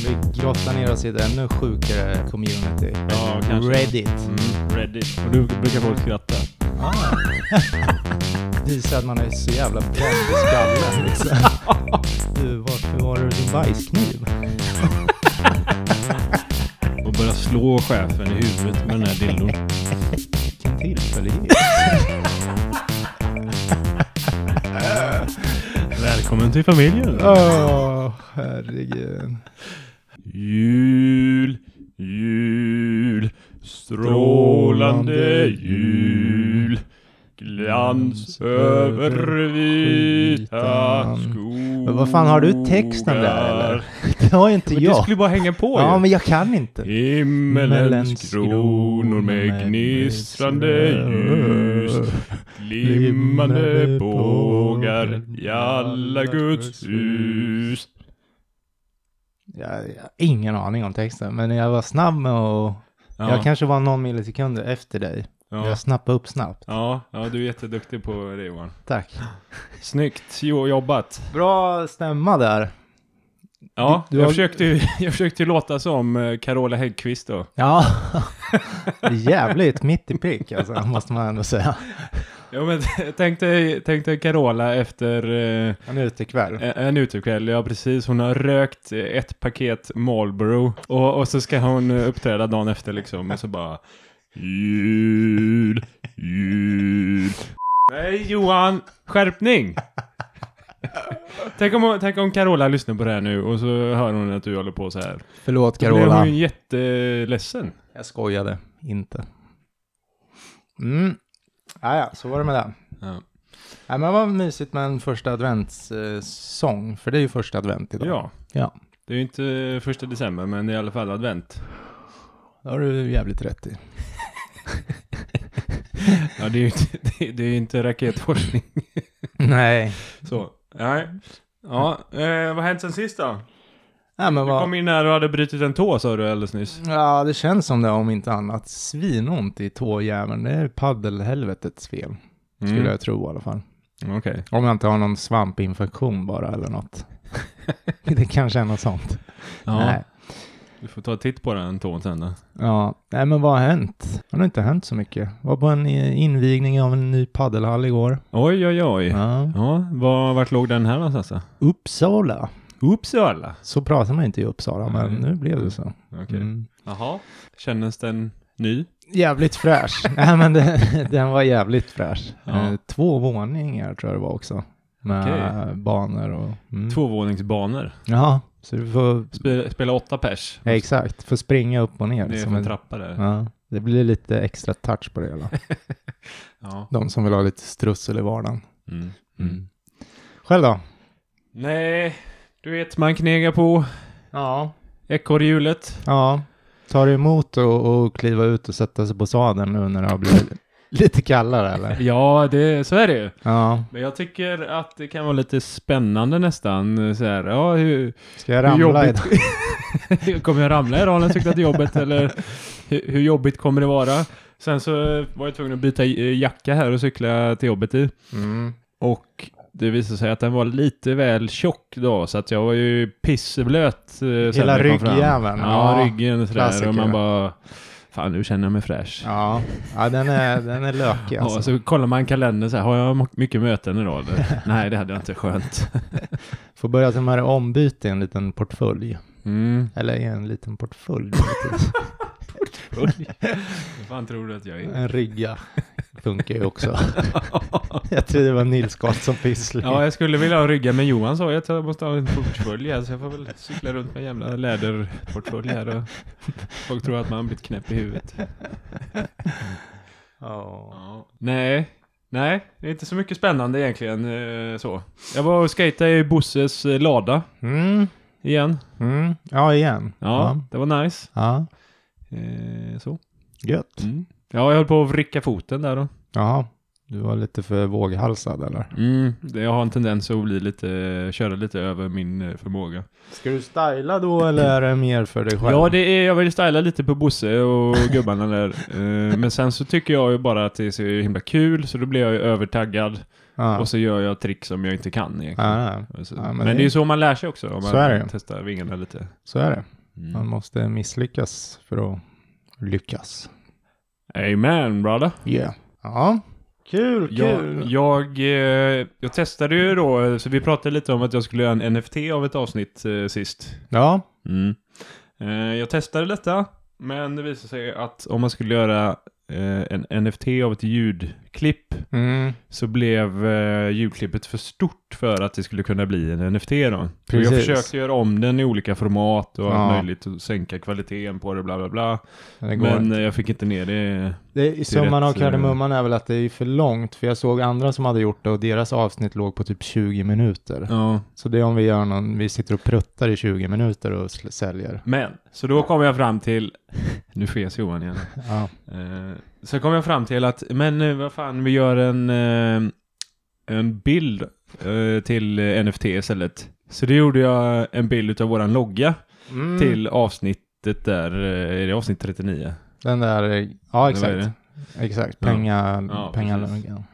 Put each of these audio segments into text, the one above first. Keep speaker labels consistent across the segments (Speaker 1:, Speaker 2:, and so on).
Speaker 1: Vi grottar ner oss i ett ännu sjukare community.
Speaker 2: Ja, kanske.
Speaker 1: Reddit.
Speaker 2: Mm, Reddit. Och du brukar folk skratta.
Speaker 1: Ah. Visar att man är så jävla bränd i skallen liksom. Du, varför var du din bajskniv?
Speaker 2: Och börja slå chefen i huvudet med den här dildon.
Speaker 1: Vilken tillfällighet.
Speaker 2: Välkommen till familjen.
Speaker 1: Åh, oh, herregud.
Speaker 2: Jul, jul, strålande jul. Glans över vita skogar.
Speaker 1: Men vad fan, har du texten där, eller? Det har inte
Speaker 2: Men du
Speaker 1: jag.
Speaker 2: skulle bara hänga på ju.
Speaker 1: Ja, men jag kan inte.
Speaker 2: Himmelens kronor med gnistrande ljus Glimmande bågar i alla Guds hus
Speaker 1: Jag, jag har ingen aning om texten, men jag var snabb med att... Jag kanske var någon millisekund efter dig.
Speaker 2: ja.
Speaker 1: Jag snappade upp snabbt.
Speaker 2: Ja, ja, du är jätteduktig på det Johan.
Speaker 1: Tack.
Speaker 2: Snyggt jo, jobbat.
Speaker 1: Bra stämma där.
Speaker 2: Ja,
Speaker 1: Du- du
Speaker 2: jag,
Speaker 1: har-
Speaker 2: försökte, ju- jag försökte ju låta som eh, Carola Häggkvist då.
Speaker 1: Ja, Det är jävligt mitt i prick alltså, måste man ändå säga.
Speaker 2: Ja, men tänk dig, tänk dig Carola efter eh,
Speaker 1: Han är ute ikväll.
Speaker 2: En- En utekväll, typ, ja precis. Hon har rökt eh, ett paket Marlboro och, och så ska hon eh, uppträda dagen efter liksom och så bara Jul, jul. Nej Johan, skärpning! tänk, om, hon- tänk om Carola lyssnar på det här nu och så hör hon att du håller på så här.
Speaker 1: Förlåt
Speaker 2: Då blir
Speaker 1: Carola.
Speaker 2: hon ju jätteledsen.
Speaker 1: Jag skojade inte. Mm. Ah, ja, så var det med det.
Speaker 2: Ja.
Speaker 1: Nej, men vad mysigt med en första adventssång, för det är ju första advent idag.
Speaker 2: ja.
Speaker 1: Ja.
Speaker 2: Det är ju inte första december men det är i alla fall advent.
Speaker 1: Det har du jävligt rätt i.
Speaker 2: Ja, det är ju inte, det, är- det är ju inte raketforskning.
Speaker 1: Nej.
Speaker 2: Så, nej. Ja, eh, vad har hänt sen sist då?
Speaker 1: Nej, men
Speaker 2: Du
Speaker 1: vad...
Speaker 2: kom in här och hade brutit en tå sa du alldeles nyss.
Speaker 1: Ja, det känns som det om inte annat. Svinont i tåjäveln. Det är paddelhelvetets fel, skulle jag tro i alla fall.
Speaker 2: Mm, Okej.
Speaker 1: Om jag inte har någon svampinfektion bara eller något. det kanske är något sånt.
Speaker 2: Ja,
Speaker 1: Nej.
Speaker 2: du får ta en titt på den tån sen då.
Speaker 1: Ja, nej men vad har hänt? Det har inte hänt så mycket. Var på en eh, invigning av en ny paddelhall igår.
Speaker 2: Oj, oj, oj. Ja,
Speaker 1: Ja.
Speaker 2: var, vart låg den här någonstans då?
Speaker 1: Uppsala.
Speaker 2: Uppsala.
Speaker 1: Så pratar man inte i Uppsala, men
Speaker 2: Nej.
Speaker 1: nu blev det så.
Speaker 2: Okej.
Speaker 1: Mm.
Speaker 2: Jaha. Kändes den ny?
Speaker 1: Jävligt fräsch. nej men det, den var jävligt fräsch.
Speaker 2: Ja.
Speaker 1: Eh, Två våningar tror jag det var också. Med
Speaker 2: Okej.
Speaker 1: banor och... Mm.
Speaker 2: Tvåvåningsbanor.
Speaker 1: Ja, så du får...
Speaker 2: Spe, spela åtta pers.
Speaker 1: Ja, exakt, får springa upp och ner.
Speaker 2: Det är
Speaker 1: som
Speaker 2: för en
Speaker 1: en-
Speaker 2: trappa där. Ja.
Speaker 1: Ja, det blir lite extra touch på det hela. De som vill ha lite strussel i vardagen.
Speaker 2: Mm.
Speaker 1: Själv då?
Speaker 2: Nej, du vet man knegar på
Speaker 1: Ja.
Speaker 2: ekorrhjulet.
Speaker 1: Ja. Tar det emot och, och kliva ut och sätta sig på sadeln nu när det har blivit lite kallare eller?
Speaker 2: Ja, det, så är det ju.
Speaker 1: Ja.
Speaker 2: Men jag tycker att det kan vara lite spännande nästan. Så här, ja, hur,
Speaker 1: Ska jag
Speaker 2: hur
Speaker 1: ramla
Speaker 2: jobbigt
Speaker 1: idag?
Speaker 2: kommer jag ramla idag när jag cyklar till jobbet? Eller hur, hur jobbigt kommer det vara? Sen så var jag tvungen att byta eh, jacka här och cykla till jobbet i.
Speaker 1: Mm.
Speaker 2: Och det visade sig att den var lite väl tjock då, så att jag var ju pissblöt. eh, sen
Speaker 1: Hela
Speaker 2: när jag kom fram.
Speaker 1: ryggjäveln,
Speaker 2: Ja,
Speaker 1: ja.
Speaker 2: ryggen och sådär.
Speaker 1: Klassiker.
Speaker 2: Och man bara, fan nu känner jag mig fräsch.
Speaker 1: Ja. ja, den är, den är lökig
Speaker 2: Ja,
Speaker 1: alltså.
Speaker 2: så kollar man kalendern så här, har jag mo- mycket möten idag eller? Nej, det hade jag inte, skönt.
Speaker 1: Får börja som här ombyte i en liten portfölj.
Speaker 2: Mm.
Speaker 1: Eller i en liten portfölj.
Speaker 2: Full. Vad fan tror du att jag är?
Speaker 1: en rygga funkar ju också. jag tror det var Nils Karlsson Pyssling.
Speaker 2: Ja, jag skulle vilja ha en rygga, men Johan sa ju att jag måste ha en portfölj här, så jag får väl cykla runt med en jävla läderportfölj här och folk tror att man har blivit knäpp i huvudet.
Speaker 1: Ja.
Speaker 2: Nej, nej, det är inte så mycket spännande egentligen eh, så. Jag var och skejtade i Bosses eh, lada
Speaker 1: Mm.
Speaker 2: igen.
Speaker 1: Mm. ja, igen.
Speaker 2: Ja,
Speaker 1: Ja.
Speaker 2: det var nice.
Speaker 1: ja.
Speaker 2: Eh, så.
Speaker 1: Gött.
Speaker 2: Ja, jag höll på att vricka foten där då.
Speaker 1: Jaha, du var lite för våghalsad eller?
Speaker 2: Mm, det- jag har en tendens att bli lite, köra lite över min eh, förmåga.
Speaker 1: Ska du styla då eller är det mer för dig själv?
Speaker 2: Ja, det är, jag vill styla lite på Bosse och gubbarna där. Eh, Men sen så tycker jag ju bara att det är så himla kul, så då blir jag ju övertaggad.
Speaker 1: Ja.
Speaker 2: Och så gör jag trick som jag inte kan egentligen.
Speaker 1: Ja, ja.
Speaker 2: Och så-
Speaker 1: Ja, men
Speaker 2: men,
Speaker 1: det-
Speaker 2: det är ju så man lär sig också. Om
Speaker 1: Så är det ju.
Speaker 2: man testar vingarna lite.
Speaker 1: Så är det. Man
Speaker 2: Mm.
Speaker 1: måste misslyckas för att lyckas.
Speaker 2: Mm. Amen brother.
Speaker 1: Yeah. Ja. Kul,
Speaker 2: Jag, jag, eh, jag testade ju då, så vi pratade lite om att jag skulle göra en NFT av ett avsnitt eh, sist.
Speaker 1: Ja.
Speaker 2: Mm. Eh, jag testade detta, men det visade sig att om man skulle göra eh, en NFT av ett ljudklipp
Speaker 1: Mm.
Speaker 2: så blev eh, ljudklippet för stort för att det skulle kunna bli en NFT då. Och jag
Speaker 1: Precis.
Speaker 2: försökte göra om den i olika format och
Speaker 1: Ja.
Speaker 2: allt möjligt och sänka kvaliteten på det bla bla bla.
Speaker 1: Det går
Speaker 2: Men
Speaker 1: inte.
Speaker 2: eh, jag fick inte ner det.
Speaker 1: Det är summan av
Speaker 2: rätt, eh,
Speaker 1: kardemumman är väl att det är för långt, för jag såg andra som hade gjort det och deras avsnitt låg på typ 20 minuter.
Speaker 2: Ja.
Speaker 1: Så det är om vi gör någon, vi sitter och pruttar i 20 minuter och sl- säljer.
Speaker 2: Men, så då kom jag fram till, nu fes Johan igen.
Speaker 1: Ja.
Speaker 2: Eh, så kom jag fram till att, men eh, vad fan, vi gör en, eh, en bild eh, till eh, NFT istället. Så då gjorde jag en bild av våran logga
Speaker 1: Mm.
Speaker 2: till avsnittet där, eh, är det avsnitt 39?
Speaker 1: Den där, eh, ja
Speaker 2: Eller vad är
Speaker 1: exakt.
Speaker 2: det?
Speaker 1: Exakt,
Speaker 2: Ja.
Speaker 1: pengar,
Speaker 2: Ja, precis.
Speaker 1: pengar.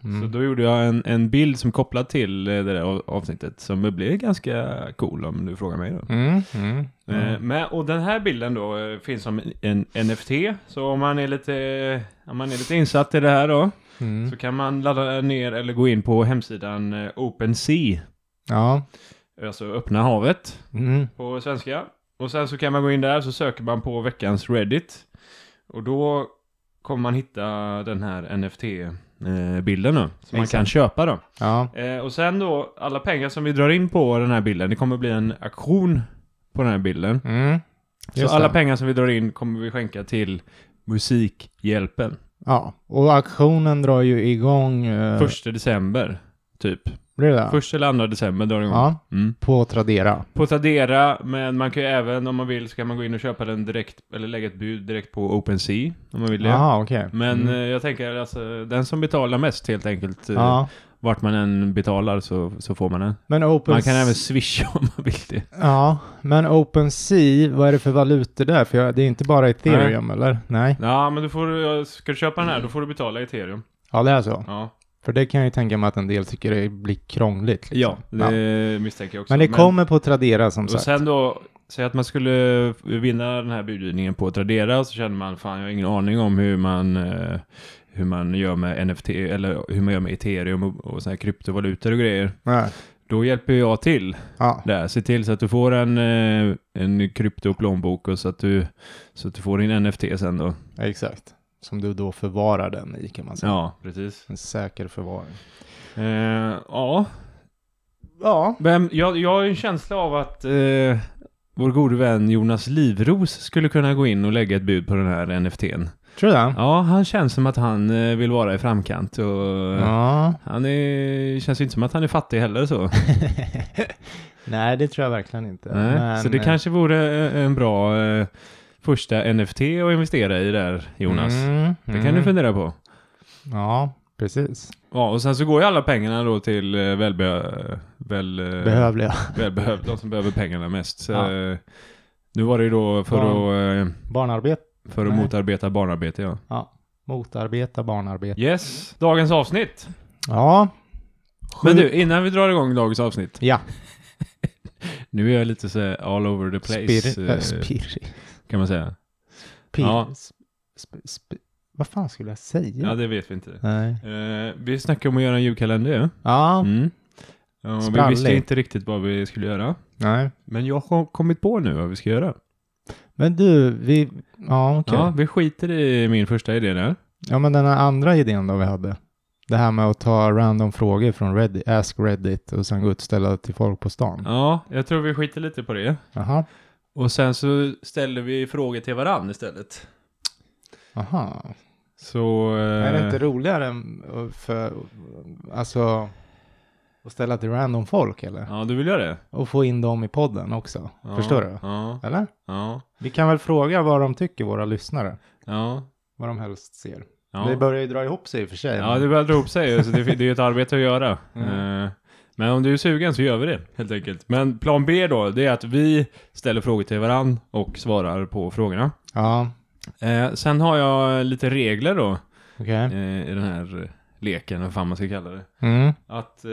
Speaker 1: Mm.
Speaker 2: Så då gjorde jag en, en bild som kopplad till eh, det där av- avsnittet som blev ganska cool om du frågar mig då.
Speaker 1: Mm. Mm. Mm.
Speaker 2: Eh, Men, och den här bilden då eh, finns som en NFT, så om man är lite, eh, om man är lite insatt i det här då
Speaker 1: Mm.
Speaker 2: så kan man ladda ner eller gå in på hemsidan eh, OpenSea,
Speaker 1: Ja.
Speaker 2: alltså öppna havet
Speaker 1: Mm.
Speaker 2: på svenska. Och sen så kan man gå in där så söker man på veckans Reddit och då kommer man hitta den här NFT-bilden eh, då, som man kan
Speaker 1: Exakt.
Speaker 2: köpa då.
Speaker 1: Ja.
Speaker 2: Eh, och sen då, alla pengar som vi drar in på den här bilden, det kommer bli en auktion på den här bilden.
Speaker 1: Mm.
Speaker 2: Så
Speaker 1: Just
Speaker 2: alla
Speaker 1: det.
Speaker 2: pengar som vi drar in kommer vi skänka till Musikhjälpen.
Speaker 1: Ja, och auktionen drar ju igång... Eh,
Speaker 2: Första december, typ.
Speaker 1: Blir det där?
Speaker 2: Första eller andra december drar det igång.
Speaker 1: Ja,
Speaker 2: Mm.
Speaker 1: på Tradera.
Speaker 2: På Tradera, men man kan ju även om man vill så kan man gå in och köpa den direkt, eller lägga ett bud direkt på OpenSea om man vill det.
Speaker 1: Jaha, okej.
Speaker 2: Men
Speaker 1: Mm.
Speaker 2: eh, jag tänker alltså, den som betalar mest helt enkelt, eh,
Speaker 1: ja.
Speaker 2: vart man än betalar så, så får man den.
Speaker 1: Men open...
Speaker 2: Man kan även swisha om man vill det.
Speaker 1: Ja, men OpenSea, vad är det för valutor där? För jag, det är inte bara ethereum, eller? Nej.
Speaker 2: Ja, men du får, ska du köpa den här då får du betala i ethereum.
Speaker 1: Ja, det är så.
Speaker 2: Ja,
Speaker 1: För det kan jag ju tänka mig att en del tycker det blir krångligt. Liksom.
Speaker 2: det misstänker jag också.
Speaker 1: Men det kommer på Tradera, som
Speaker 2: Och
Speaker 1: sagt.
Speaker 2: sen då, säg att man skulle vinna den här budgivningen på Tradera så känner man fan jag har ingen aning om hur man, eh, hur man gör med NFT eller hur man gör med ethereum och, och såna här kryptovalutor och grejer.
Speaker 1: Nej.
Speaker 2: Då hjälper jag till
Speaker 1: Ja.
Speaker 2: där. Se till så att du får en, eh, en kryptoplånbok och så att, du, så att du får din NFT sen då.
Speaker 1: exakt. Som du då förvarar den i, kan man säga.
Speaker 2: Ja, precis.
Speaker 1: En säker förvaring.
Speaker 2: Eh, ja,
Speaker 1: Ja.
Speaker 2: Vem, jag, jag har ju en känsla av att eh, vår gode vän Jonas Livros skulle kunna gå in och lägga ett bud på den här NFTn.
Speaker 1: Tror du det?
Speaker 2: Ja, han känns som att han eh, vill vara i framkant och
Speaker 1: ja.
Speaker 2: han är, känns ju inte som att han är fattig heller så.
Speaker 1: Nej, det tror jag verkligen inte.
Speaker 2: Nej,
Speaker 1: Men,
Speaker 2: så det
Speaker 1: eh,
Speaker 2: kanske vore eh, en bra eh, första NFT att investera i där, Jonas.
Speaker 1: Mm,
Speaker 2: Det kan du fundera Eh. på.
Speaker 1: Ja, precis.
Speaker 2: Ja, och sen så går ju alla pengarna då till eh, välbe- väl, eh,
Speaker 1: Behövliga.
Speaker 2: välbehövda, de som behöver pengarna mest. Så,
Speaker 1: Ja.
Speaker 2: eh, Nu var det ju då för att eh,
Speaker 1: Barnarbete.
Speaker 2: För att
Speaker 1: Nej.
Speaker 2: motarbeta barnarbete, ja.
Speaker 1: Motarbeta barnarbete.
Speaker 2: Yes, dagens avsnitt.
Speaker 1: Ja.
Speaker 2: Men du, innan vi drar igång dagens avsnitt.
Speaker 1: Ja.
Speaker 2: Nu är jag lite så här all over the place,
Speaker 1: Spir-
Speaker 2: eh,
Speaker 1: äh, spir-
Speaker 2: kan man säga.
Speaker 1: pir-
Speaker 2: Ja.
Speaker 1: sp- sp- sp- Vad fan skulle jag säga?
Speaker 2: Ja, det vet vi inte.
Speaker 1: Nej.
Speaker 2: Eh, vi snackade om att göra en julkalender, ja.
Speaker 1: Ja.
Speaker 2: Mm. Ja, vi
Speaker 1: Sprallig.
Speaker 2: visste inte riktigt vad vi skulle göra.
Speaker 1: Nej.
Speaker 2: Men jag har kommit på nu vad vi ska göra.
Speaker 1: Men du, vi... Ja, okej.
Speaker 2: Ja,
Speaker 1: Ja.
Speaker 2: vi skiter i min första idé där.
Speaker 1: men den här andra idén då vi hade. Det här med att ta random frågor från Reddit, Ask Reddit och sen gå ut och ställa till folk på stan.
Speaker 2: Ja, jag tror vi skiter lite på det.
Speaker 1: Jaha.
Speaker 2: Och sen så ställer vi frågor till varann istället.
Speaker 1: Aha.
Speaker 2: Så... eh,
Speaker 1: Är det inte roligare än, eh, för, alltså, att ställa till random folk eller?
Speaker 2: Ja, du vill göra det?
Speaker 1: Och få in dem i podden också.
Speaker 2: Ja,
Speaker 1: Förstår du?
Speaker 2: Ja,
Speaker 1: Eller?
Speaker 2: ja,
Speaker 1: Vi kan väl fråga vad de tycker, våra lyssnare.
Speaker 2: ja.
Speaker 1: Vad de helst ser.
Speaker 2: Ja,
Speaker 1: Det börjar ju dra ihop sig i och för sig.
Speaker 2: ja
Speaker 1: men-
Speaker 2: det börjar dra ihop sig. Så det, det är ju ett arbete att göra.
Speaker 1: Mm.
Speaker 2: Eh, Men om du är sugen så gör vi det, helt enkelt. Men plan B då, det är att vi ställer frågor till varann och svarar på frågorna.
Speaker 1: Ja,
Speaker 2: Eh, sen har jag lite regler då,
Speaker 1: okej.
Speaker 2: eh, i den här leken, vad fan man ska kalla det.
Speaker 1: Mm.
Speaker 2: Att, eh,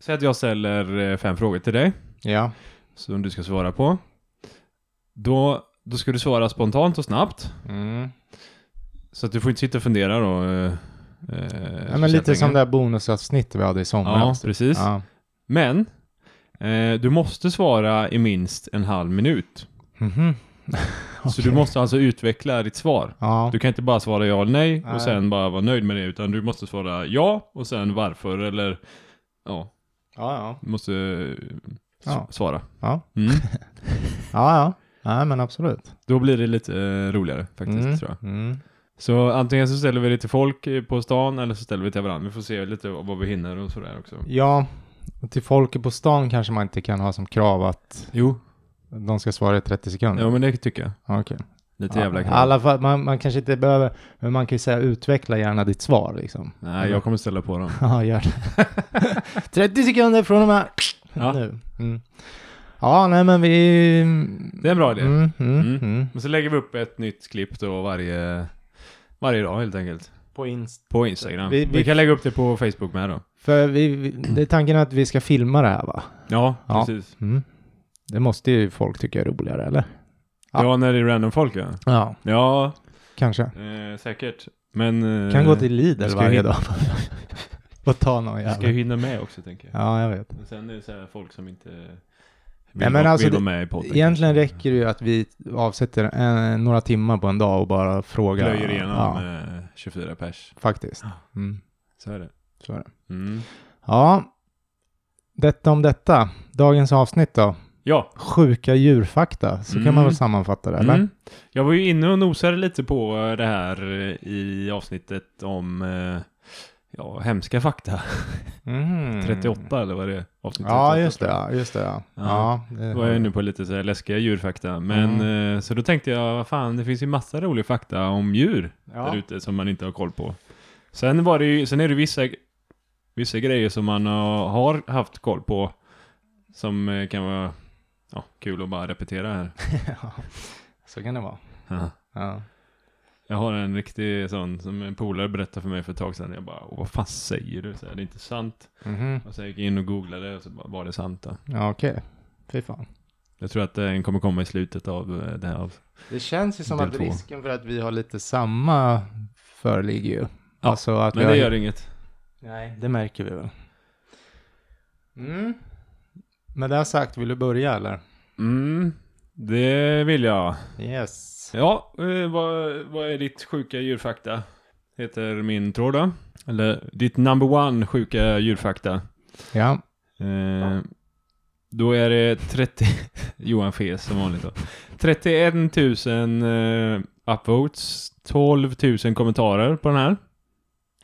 Speaker 2: säg att jag ställer eh, fem frågor till dig
Speaker 1: Ja.
Speaker 2: som du ska svara på. Då, då ska du svara spontant och snabbt.
Speaker 1: Mm.
Speaker 2: Så att du får inte sitta och fundera då. Eh, eh,
Speaker 1: Ja, men lite som det här bonusavsnittet vi hade i
Speaker 2: Ja,
Speaker 1: somras.
Speaker 2: precis.
Speaker 1: Ja.
Speaker 2: Men eh, du måste svara i minst en halv minut.
Speaker 1: Mhm.
Speaker 2: Så du måste alltså utveckla ditt svar.
Speaker 1: Ja.
Speaker 2: Du kan inte bara svara ja eller nej och
Speaker 1: Nej.
Speaker 2: sen bara vara nöjd med det, utan du måste svara ja och sen varför eller ja,
Speaker 1: Ja, ja.
Speaker 2: du måste eh, s-
Speaker 1: Ja.
Speaker 2: svara.
Speaker 1: Ja.
Speaker 2: Mm.
Speaker 1: Ja, ja. Nej, men absolut.
Speaker 2: Då blir det lite eh, roligare faktiskt
Speaker 1: Mm.
Speaker 2: tror jag.
Speaker 1: Mm.
Speaker 2: Så antingen så ställer vi det till folk eh, på stan eller så ställer vi till varandra. Vi får se lite vad vi hinner och sådär också.
Speaker 1: Ja, till folk på stan kanske man inte kan ha som krav att
Speaker 2: Jo,
Speaker 1: de ska svara i 30 sekunder.
Speaker 2: ja men det tycker jag.
Speaker 1: Ja. Okej.
Speaker 2: Lite
Speaker 1: Ja,
Speaker 2: jävla
Speaker 1: I
Speaker 2: krav.
Speaker 1: alla fall, man, man kanske inte behöver, men man kan ju säga utveckla gärna ditt svar liksom.
Speaker 2: Nej, jag kommer ställa på dem.
Speaker 1: Ja, gör det. 30 sekunder från och med
Speaker 2: Ja.
Speaker 1: nu. Mm. Ja, nej men vi...
Speaker 2: Det är en bra idé.
Speaker 1: Mm, mm,
Speaker 2: Mm.
Speaker 1: mm.
Speaker 2: Men så lägger vi upp ett nytt klipp då varje, varje dag helt enkelt.
Speaker 1: På Insta.
Speaker 2: På Instagram. Vi,
Speaker 1: Vi- vi-
Speaker 2: kan lägga upp det på Facebook med då.
Speaker 1: För vi, vi, det är tanken att vi ska filma det här va?
Speaker 2: Ja,
Speaker 1: Ja.
Speaker 2: precis.
Speaker 1: Mm. Det måste ju folk tycka är roligare eller?
Speaker 2: Ja.
Speaker 1: Ja.
Speaker 2: när det är random folk ja.
Speaker 1: Ja,
Speaker 2: Ja,
Speaker 1: kanske.
Speaker 2: eh, säkert. Men... Eh,
Speaker 1: Kan gå till
Speaker 2: jag
Speaker 1: Lidl
Speaker 2: ska
Speaker 1: varje
Speaker 2: ju-
Speaker 1: dag. Och ta någon
Speaker 2: Jag ska ju
Speaker 1: jävla.
Speaker 2: hinna med också tänker jag.
Speaker 1: Ja, jag vet.
Speaker 2: Men sen är det så här folk som inte vill,
Speaker 1: men
Speaker 2: vara-
Speaker 1: alltså
Speaker 2: vill
Speaker 1: det-
Speaker 2: vara med i podden.
Speaker 1: Egentligen
Speaker 2: kanske.
Speaker 1: räcker det ju att vi avsätter eh, några timmar på en dag och bara frågar.
Speaker 2: Plöjer igenom
Speaker 1: Ja,
Speaker 2: eh, 24 pers.
Speaker 1: faktiskt.
Speaker 2: Ja.
Speaker 1: Mm,
Speaker 2: Så är det.
Speaker 1: så är det.
Speaker 2: Mm.
Speaker 1: Ja, detta om detta. Dagens avsnitt då.
Speaker 2: Ja.
Speaker 1: Sjuka djurfakta. Så
Speaker 2: Mm.
Speaker 1: kan man väl sammanfatta det, typ, eller?
Speaker 2: Mm. Jag var ju inne och nosade lite på eh, det här eh, i avsnittet om eh, ja, hemska fakta.
Speaker 1: Mm.
Speaker 2: 38 eller vad det är? Avsnitt
Speaker 1: Ja,
Speaker 2: 38,
Speaker 1: just det.
Speaker 2: tror jag.
Speaker 1: Ja, just det. Ja.
Speaker 2: Ja.
Speaker 1: Ja, det-
Speaker 2: Då var jag inne på lite så här läskiga djurfakta. Men
Speaker 1: Mm.
Speaker 2: eh, så då tänkte jag, vad fan, det finns ju massa rolig fakta om djur där
Speaker 1: ja.
Speaker 2: ute som man inte har koll på. Sen, var det ju, sen är det vissa, vissa grejer som man har- har haft koll på som eh, kan vara ja, kul att bara repetera här.
Speaker 1: Ja. Så kan det vara.
Speaker 2: Ja.
Speaker 1: Ja.
Speaker 2: Jag har en riktig sån som en polare berättade för mig för ett tag sedan. Jag bara, "Åh, vad fan säger du? Så här, det är inte sant.
Speaker 1: Mhm.
Speaker 2: Och sen gick jag in och googlade och så bara, var det sant då?
Speaker 1: ja okej. Fy fan.
Speaker 2: Jag tror att eh, den kommer komma i slutet av eh, det här. av-
Speaker 1: Det känns ju som
Speaker 2: Del
Speaker 1: att
Speaker 2: två.
Speaker 1: risken för att vi har lite samma föreligger ju.
Speaker 2: Ja,
Speaker 1: alltså att
Speaker 2: Men
Speaker 1: vi
Speaker 2: det
Speaker 1: har...
Speaker 2: gör inget.
Speaker 1: Nej, det märker vi väl. Mm. Med det sagt, vill du börja eller?
Speaker 2: Mm, det vill jag.
Speaker 1: Yes.
Speaker 2: Ja, eh, vad, vad är ditt sjuka djurfakta? Heter min tråd då. Eller ditt number one sjuka djurfakta.
Speaker 1: Ja.
Speaker 2: Eh, då är det 30... Johan Fes som vanligt då. 31 000 eh, upvotes, 12 000 kommentarer på den här.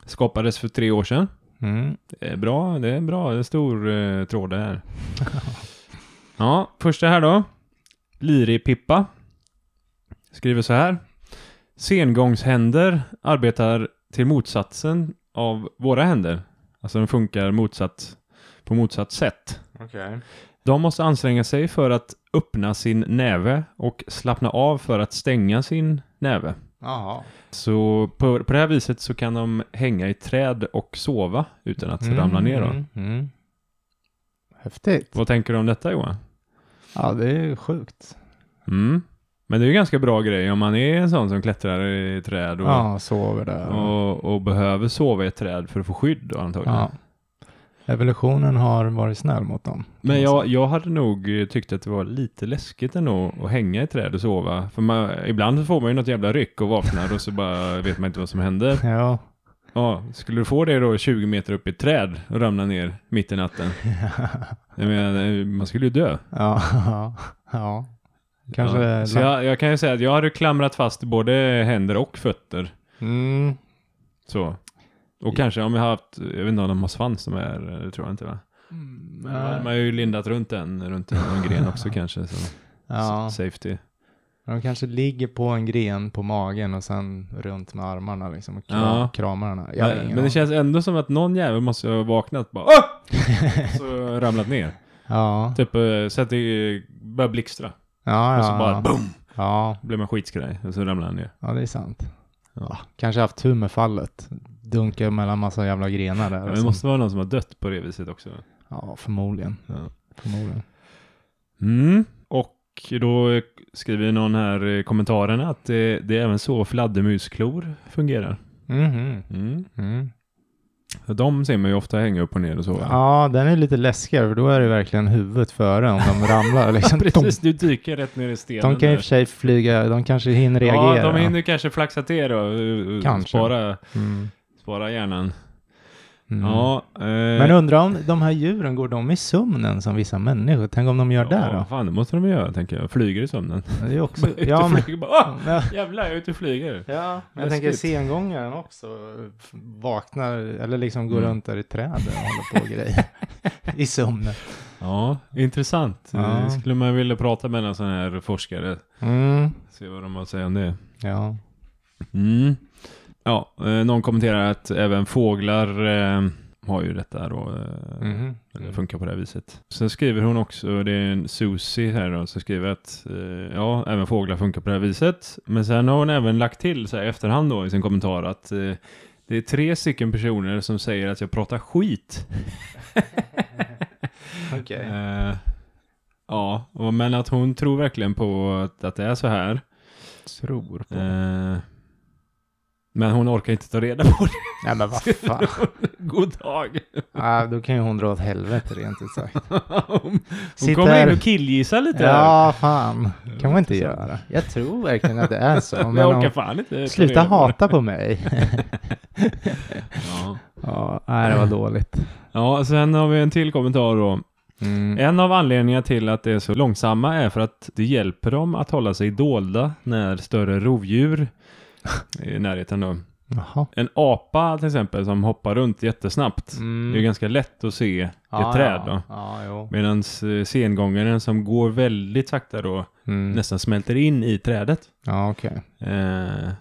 Speaker 2: Skapades för tre år sedan.
Speaker 1: Mm.
Speaker 2: Det är bra, det är bra. Det är en stor eh, tråd det här. ja, första här då. Liri-Pippa. Skriver så här. Sengångshänder arbetar till motsatsen av våra händer. Alltså de funkar motsatt, på motsatt sätt.
Speaker 1: Okej.
Speaker 2: De måste anstränga sig för att öppna sin näve och slappna av för att stänga sin näve.
Speaker 1: Jaha.
Speaker 2: Så på, på det här viset så kan de hänga i träd och sova utan att ramla ner då.
Speaker 1: Mm. Mm. Häftigt.
Speaker 2: Vad tänker du om detta Johan?
Speaker 1: Ja, det är sjukt.
Speaker 2: Mm. Men det är ju ganska bra grej om man är en sån som klättrar i träd och,
Speaker 1: Ja, sover där.
Speaker 2: och, och behöver sova i ett träd för att få skydd då, antagligen.
Speaker 1: Ja. Evolutionen har varit snäll mot dem. kan
Speaker 2: Men
Speaker 1: man
Speaker 2: jag,
Speaker 1: säga.
Speaker 2: jag hade nog eh, tyckt att det var lite läskigt ändå att hänga i träd och sova. För man, ibland så får man ju något jävla ryck och vaknar och så bara vet man inte vad som händer.
Speaker 1: Ja.
Speaker 2: Ja, skulle du få det då 20 meter upp i ett träd och ramla ner mitt i natten? Jag menar, eh, man skulle ju dö.
Speaker 1: Ja. ja. ja. Kanske...
Speaker 2: Ja. Så jag, jag kan ju säga att jag hade klamrat fast både händer och fötter.
Speaker 1: Mm.
Speaker 2: Så. Och kanske om jag har haft, jag vet inte om de har svans de här, det tror jag inte va? Mm, Men då hade man ju lindat runt den, runt en någon gren också kanske. Så.
Speaker 1: Ja.
Speaker 2: s- Safety.
Speaker 1: De kanske ligger på en gren på magen och sen runt med armarna liksom och kram,
Speaker 2: Ja.
Speaker 1: kramar den här. Jag har
Speaker 2: Men,
Speaker 1: ingen
Speaker 2: men det
Speaker 1: aning.
Speaker 2: känns ändå som att någon jävel måste ha vaknat bara Åh! Så ramlat ner.
Speaker 1: Ja.
Speaker 2: Typ eh, så att det börjar blixtra.
Speaker 1: Ja,
Speaker 2: Och
Speaker 1: ja,
Speaker 2: så bara
Speaker 1: ja.
Speaker 2: boom!
Speaker 1: ja,
Speaker 2: Blev man skitskraj och så ramlade han ner.
Speaker 1: ja, det är sant.
Speaker 2: Ja.
Speaker 1: Kanske haft tur med fallet. dunkar mellan massa jävla grenar där.
Speaker 2: Men
Speaker 1: och
Speaker 2: det
Speaker 1: sen-
Speaker 2: måste vara någon som har dött på det viset också.
Speaker 1: Ja, förmodligen.
Speaker 2: Ja.
Speaker 1: förmodligen.
Speaker 2: Mm. Och då eh, skriver någon här i kommentarerna att det, det är även så fladdermusklor fungerar.
Speaker 1: Mhm.
Speaker 2: Mm.
Speaker 1: Mm.
Speaker 2: De ser man ju ofta hänga upp och ner och så. va?
Speaker 1: Ja, den är lite läskigare för då är det verkligen huvudet före om de ramlar. Liksom. de,
Speaker 2: Precis, du dyker rätt ner i stenen.
Speaker 1: de kan ju i
Speaker 2: där.
Speaker 1: och för sig flyga, de kanske hinner reagera.
Speaker 2: Ja, de hinner kanske flaxa till då. eh, eh,
Speaker 1: Kanske.
Speaker 2: Spara,
Speaker 1: Mm.
Speaker 2: spara hjärnan.
Speaker 1: Mm.
Speaker 2: Ja, eh,
Speaker 1: Men undrar om de här djuren, går de i sömnen som vissa människor? Tänk om de gör där
Speaker 2: ja,
Speaker 1: då?
Speaker 2: fan, det måste de ju göra tänker jag. Flyger i sömnen.
Speaker 1: Det är också,
Speaker 2: Ut och
Speaker 1: ja, men,
Speaker 2: flyger, bara, "Åh,
Speaker 1: ja,
Speaker 2: jävlar, jag är ute och flyger.
Speaker 1: ja, men
Speaker 2: Läskigt.
Speaker 1: jag tänker sengångaren också f- vaknar eller liksom går
Speaker 2: Mm.
Speaker 1: runt där i träden och håller på och grejer. I sömnen.
Speaker 2: Ja, intressant.
Speaker 1: Ja.
Speaker 2: Eh, Skulle man vilja prata med en sån här forskare.
Speaker 1: Mm.
Speaker 2: Se vad de har att säga om det.
Speaker 1: Ja.
Speaker 2: Mm. Ja, eh, någon kommenterar att även fåglar eh, har ju detta då. Eh,
Speaker 1: Mhm.
Speaker 2: eller funkar på det här viset. Sen skriver hon också, det är en Susie här då, som skriver att eh, ja, även fåglar funkar på det här viset. Men sen har hon även lagt till så här i efterhand då i sin kommentar att eh, det är tre stycken personer som säger att jag pratar skit.
Speaker 1: Okej.
Speaker 2: Eh, ja, och, men att hon tror verkligen på att, att det är så här.
Speaker 1: Tror på.
Speaker 2: Eh, men hon orkar inte ta reda på det.
Speaker 1: Nej men vad fan.
Speaker 2: God dag.
Speaker 1: Ja, då kan ju hon dra åt helvete rent ut sagt.
Speaker 2: hon hon
Speaker 1: Sitt
Speaker 2: kommer in
Speaker 1: här.
Speaker 2: och killgissar lite här.
Speaker 1: Ja, fan. kan man inte göra. Jag tror verkligen att det är så.
Speaker 2: jag
Speaker 1: Men
Speaker 2: orkar
Speaker 1: hon,
Speaker 2: fan inte. ta
Speaker 1: sluta
Speaker 2: reda på det.
Speaker 1: hata på mig.
Speaker 2: Ja.
Speaker 1: Ja, nej, det var dåligt.
Speaker 2: Ja, sen har vi en till kommentar då.
Speaker 1: Mm.
Speaker 2: En av anledningarna till att det är så långsamma är för att det hjälper dem att hålla sig dolda när större rovdjur är i närheten då.
Speaker 1: Jaha.
Speaker 2: En apa till exempel som hoppar runt jättesnabbt. Det är ju
Speaker 1: Mm.
Speaker 2: ganska lätt att se i
Speaker 1: Ja,
Speaker 2: ett träd då.
Speaker 1: ja. Ja, jo.
Speaker 2: Medan eh, sengångaren som går väldigt sakta då
Speaker 1: Mm.
Speaker 2: nästan smälter in i trädet.
Speaker 1: Ja, okej.
Speaker 2: Eh,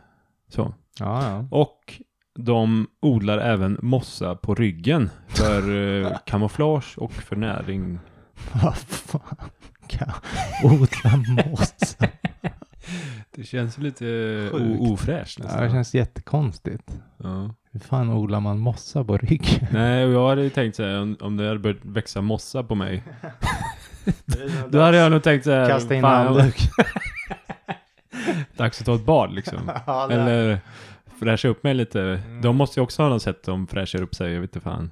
Speaker 2: så.
Speaker 1: Ja, ja.
Speaker 2: Och de odlar även mossa på ryggen för eh, kamouflage och för näring.
Speaker 1: Vad fan. Kan odla mossa.
Speaker 2: Det känns lite
Speaker 1: Sjukt.
Speaker 2: o- ofräscht
Speaker 1: Ja, det känns jättekonstigt.
Speaker 2: Ja.
Speaker 1: Hur fan odlar man mossa på ryggen?
Speaker 2: Nej, och jag hade ju tänkt så här, om, om det hade börjat växa mossa på mig. Då hade jag nog tänkt så här,
Speaker 1: Kasta in
Speaker 2: fan,
Speaker 1: handduk.
Speaker 2: dags att ta ett bad liksom.
Speaker 1: Ja, det-
Speaker 2: Eller fräscha upp mig lite.
Speaker 1: Mm.
Speaker 2: De måste ju också ha något sätt de fräschar upp sig, jag vet inte fan.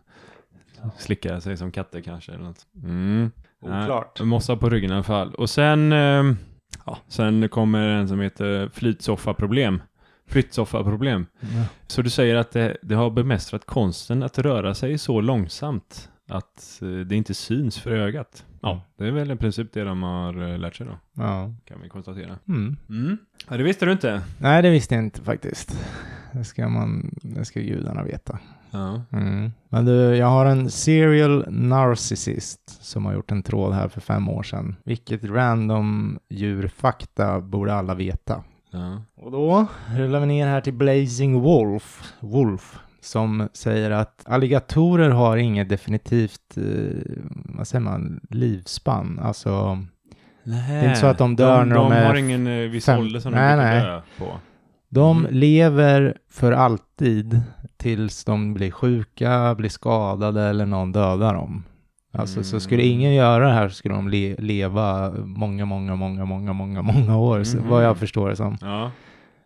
Speaker 2: Slickar sig som katter kanske eller något. Mm. Nej,
Speaker 1: Oklart.
Speaker 2: Mossa på ryggen i alla fall. Och sen, eh, ja, sen kommer en som heter flytsoffaproblem. Flyttsoffaproblem.
Speaker 1: Ja.
Speaker 2: Så du säger att det, det har bemästrat konsten att röra sig så långsamt att eh, det inte syns för ögat.
Speaker 1: Mm.
Speaker 2: Ja, det är väl i princip det de har eh, lärt sig då,
Speaker 1: Ja.
Speaker 2: kan vi konstatera.
Speaker 1: Mm.
Speaker 2: Mm. Ja, det visste du inte.
Speaker 1: Nej, det visste jag inte faktiskt. Det ska, man, det ska gudarna veta.
Speaker 2: Ja.
Speaker 1: Mm. Men du, jag har en serial narcissist som har gjort en tråd här för fem år sedan. Vilket random djurfakta borde alla veta?
Speaker 2: ja.
Speaker 1: Och då rullar vi ner här till Blazing Wolf, Wolf som säger att alligatorer har inget definitivt, eh, vad säger man, livspann. Alltså,
Speaker 2: Nej.
Speaker 1: Det är inte så att de dör när de
Speaker 2: de
Speaker 1: är
Speaker 2: har ingen eh, viss
Speaker 1: fem-
Speaker 2: ålder som
Speaker 1: Nej,
Speaker 2: de brukar
Speaker 1: nej.
Speaker 2: dö på.
Speaker 1: de
Speaker 2: Mm.
Speaker 1: lever för alltid tills de blir sjuka, blir skadade eller någon dödar dem. Alltså, så skulle
Speaker 2: Mm.
Speaker 1: ingen göra det här så skulle de le- leva många, många, många, många, många, många år, så- vad
Speaker 2: Mhm.
Speaker 1: jag förstår det som.
Speaker 2: Ja.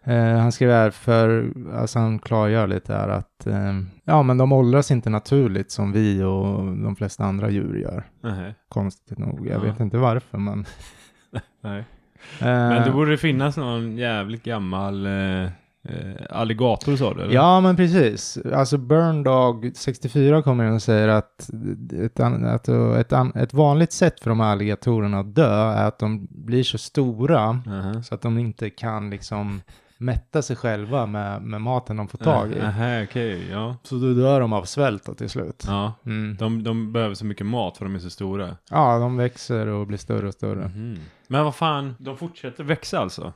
Speaker 1: Eh, han skriver här för, alltså han klargör lite här att, eh, ja men de åldras inte naturligt som vi och de flesta andra djur gör.
Speaker 2: Nej.
Speaker 1: Konstigt nog, jag
Speaker 2: Ja.
Speaker 1: vet inte varför men.
Speaker 2: nej.
Speaker 1: Eh,
Speaker 2: Men det borde finnas någon jävligt gammal eh, eh, alligator sa du? eller?
Speaker 1: Ja men precis, alltså Burndog 64 kommer in och säger att, ett, an, att eh, ett, an, ett vanligt sätt för de här alligatorerna att dö är att de blir så stora
Speaker 2: Aha.
Speaker 1: så att de inte kan liksom mätta sig själva med, med maten de får tag i.
Speaker 2: Aha, okej, ja.
Speaker 1: Så då dör de av svält då till slut.
Speaker 2: ja.
Speaker 1: Mm.
Speaker 2: De, de behöver så mycket mat för de är så stora. Mhm.
Speaker 1: Ja, de växer och blir större och större.
Speaker 2: Men vad fan, de fortsätter växa alltså?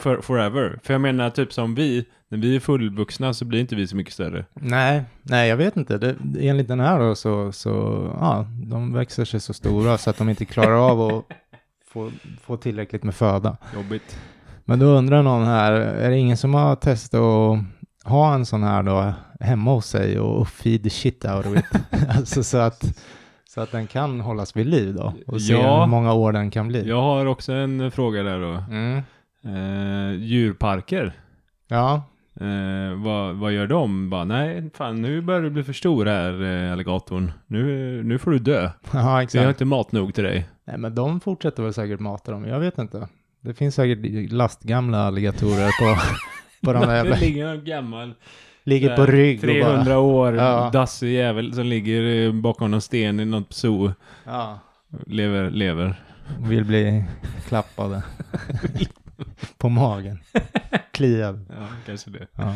Speaker 2: For, forever. För jag menar, typ som vi, när vi är fullvuxna så blir inte vi så mycket större.
Speaker 1: Nej, nej jag vet inte. Det, enligt den här då så, så, ja, de växer sig så stora så att de inte klarar av att få, få tillräckligt med föda.
Speaker 2: Jobbigt.
Speaker 1: Men då undrar någon här, är det ingen som har testat att ha en sån här då hemma hos sig och och feed the shit out of it. alltså så att, så att den kan hållas vid liv då och se
Speaker 2: Ja.
Speaker 1: hur många år den kan bli.
Speaker 2: Jag har också en eh, fråga där då.
Speaker 1: Mm.
Speaker 2: Eh, djurparker.
Speaker 1: Ja,
Speaker 2: Eh, vad, vad gör de? Bara, nej, fan nu börjar du bli för stor här, eh, alligatorn. Nu, nu får du dö.
Speaker 1: ja
Speaker 2: Vi har
Speaker 1: exakt.
Speaker 2: inte mat nog till dig.
Speaker 1: Nej, men de fortsätter väl säkert mata dem, jag vet inte. Det finns säkert lastgamla alligatorer på, på de där jävla...
Speaker 2: Det ligger en gammal
Speaker 1: Ligger på
Speaker 2: där,
Speaker 1: rygg och bara...
Speaker 2: 300 år
Speaker 1: Ja.
Speaker 2: dassig jävel som ligger eh, bakom någon sten i något zoo.
Speaker 1: Ja,
Speaker 2: Lever, lever.
Speaker 1: vill bli klappade. på magen. Kliad.
Speaker 2: Ja, kanske det.
Speaker 1: Ja.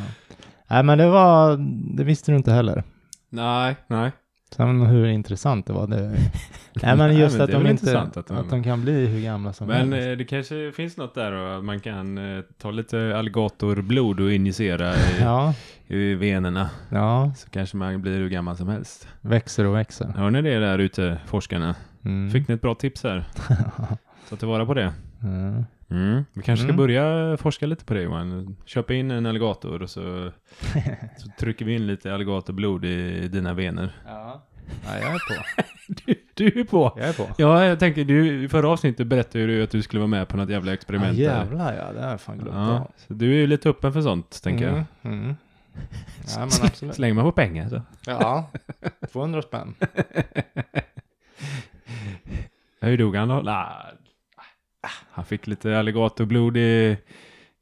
Speaker 1: Nej, men det var... Det visste du inte heller.
Speaker 2: Nej, nej.
Speaker 1: Sen hur intressant det var, det... Nej, men
Speaker 2: Nej,
Speaker 1: just
Speaker 2: men
Speaker 1: att,
Speaker 2: det är
Speaker 1: de
Speaker 2: väl
Speaker 1: inte,
Speaker 2: intressant
Speaker 1: att, de...
Speaker 2: att de-
Speaker 1: kan bli hur gamla som
Speaker 2: Men
Speaker 1: helst.
Speaker 2: eh, det kanske finns något där då, att man kan eh, ta lite alligatorblod och injicera i,
Speaker 1: Ja,
Speaker 2: i venerna.
Speaker 1: ja,
Speaker 2: Så kanske man blir hur gammal som helst.
Speaker 1: växer och växer.
Speaker 2: Hör ni det där ute, forskarna?
Speaker 1: Mm.
Speaker 2: Fick ni ett bra tips här? Ta tillvara på det.
Speaker 1: Mm.
Speaker 2: Mm. Vi kanske ska
Speaker 1: Mm.
Speaker 2: börja forska lite på det Johan. Köpa in en alligator och så, så trycker vi in lite alligatorblod i dina vener.
Speaker 1: Ja. ja, jag är på.
Speaker 2: Du, du är på!
Speaker 1: Jag är på.
Speaker 2: Ja, jag tänker, du, i förra avsnittet berättade du att du skulle vara med på något jävla experiment.
Speaker 1: Ja,
Speaker 2: där.
Speaker 1: jävlar ja, det har jag fan glömt
Speaker 2: Ja,
Speaker 1: av.
Speaker 2: så du är ju lite öppen för sånt, tänker jag.
Speaker 1: mm, Mm. Ja, men absolut.
Speaker 2: Slänger man på pengar så.
Speaker 1: Ja, 200 spänn.
Speaker 2: Hur dog han då? Nah, han fick lite alligatorblod i,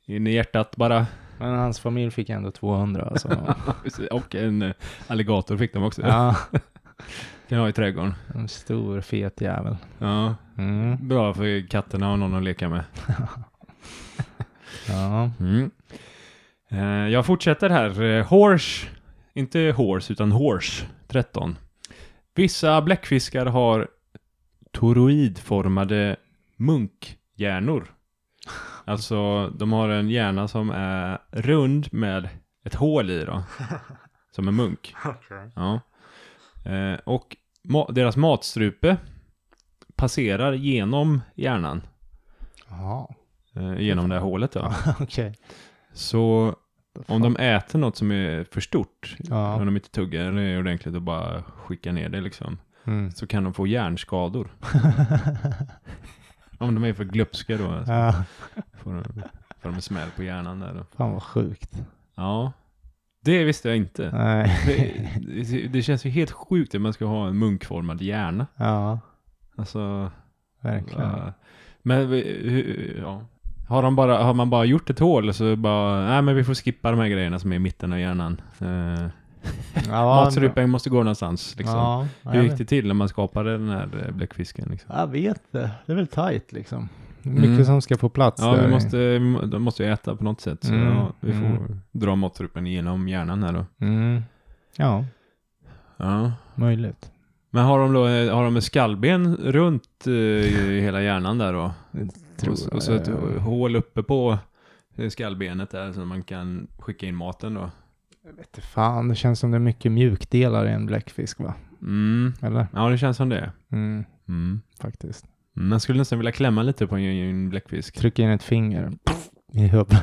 Speaker 2: in i hjärtat bara.
Speaker 1: Men hans familj fick ändå 200 alltså.
Speaker 2: Och en eh, alligator fick de också.
Speaker 1: Ja,
Speaker 2: Kan ha i trädgården.
Speaker 1: en stor fet jävel.
Speaker 2: Ja,
Speaker 1: Mm.
Speaker 2: bra för katterna har någon att leka med.
Speaker 1: Ja.
Speaker 2: Mm. Eh, Jag fortsätter här. Eh, Horse, inte horse utan horse 13. Vissa bläckfiskar har toroidformade munkhjärnor. Alltså, de har en hjärna som är rund med ett hål i då. Som en munk. Ja. Eh, Och ma- deras matstrupe passerar genom hjärnan.
Speaker 1: Jaha,
Speaker 2: eh, Genom det här hålet då.
Speaker 1: okej.
Speaker 2: Så om
Speaker 1: Fan.
Speaker 2: de äter något som är för stort, om
Speaker 1: Ja.
Speaker 2: de inte tuggar det ordentligt och bara skickar ner det liksom,
Speaker 1: Mm.
Speaker 2: så kan de få hjärnskador. Om de är för glupska då, så
Speaker 1: ja.
Speaker 2: får de, får de en smäll på hjärnan där då.
Speaker 1: Fan vad sjukt.
Speaker 2: Ja, det visste jag inte.
Speaker 1: Nej.
Speaker 2: Det, det, det känns ju helt sjukt att man ska ha en munkformad hjärna.
Speaker 1: Ja,
Speaker 2: Alltså,
Speaker 1: verkligen.
Speaker 2: ja. men vi- hur- ja. Har, de bara, har man bara gjort ett hål så bara, nej men vi får skippa de här grejerna som är i mitten av hjärnan. Eh,
Speaker 1: Ja,
Speaker 2: Matstrupen måste gå någonstans liksom.
Speaker 1: Ja, ja,
Speaker 2: Hur
Speaker 1: jag
Speaker 2: gick
Speaker 1: vet.
Speaker 2: det till när man skapade den här eh, bläckfisken? Liksom?
Speaker 1: Jag vet det. Det är väl tajt liksom.
Speaker 2: Mm.
Speaker 1: Mycket som ska få plats
Speaker 2: Ja,
Speaker 1: där.
Speaker 2: vi måste, vi må- de måste ju äta på något sätt. Så
Speaker 1: Mm,
Speaker 2: ja, vi får
Speaker 1: mm.
Speaker 2: dra matstrupen genom hjärnan här då.
Speaker 1: Mm. Ja,
Speaker 2: Ja.
Speaker 1: möjligt.
Speaker 2: Men har de då eh, har de ett skallben runt eh, i hela hjärnan där då?
Speaker 1: Tror
Speaker 2: och, så- och så ett
Speaker 1: jag.
Speaker 2: hål uppe på eh, skallbenet där så man kan skicka in maten då.
Speaker 1: Vete Fan, det känns som det är mycket mjukdelar i en bläckfisk va?
Speaker 2: Mm.
Speaker 1: Eller?
Speaker 2: Ja, det känns som det.
Speaker 1: Mm,
Speaker 2: Mm.
Speaker 1: faktiskt.
Speaker 2: Man skulle nästan vilja klämma lite på en, en bläckfisk.
Speaker 1: Trycka in ett finger i huvudet.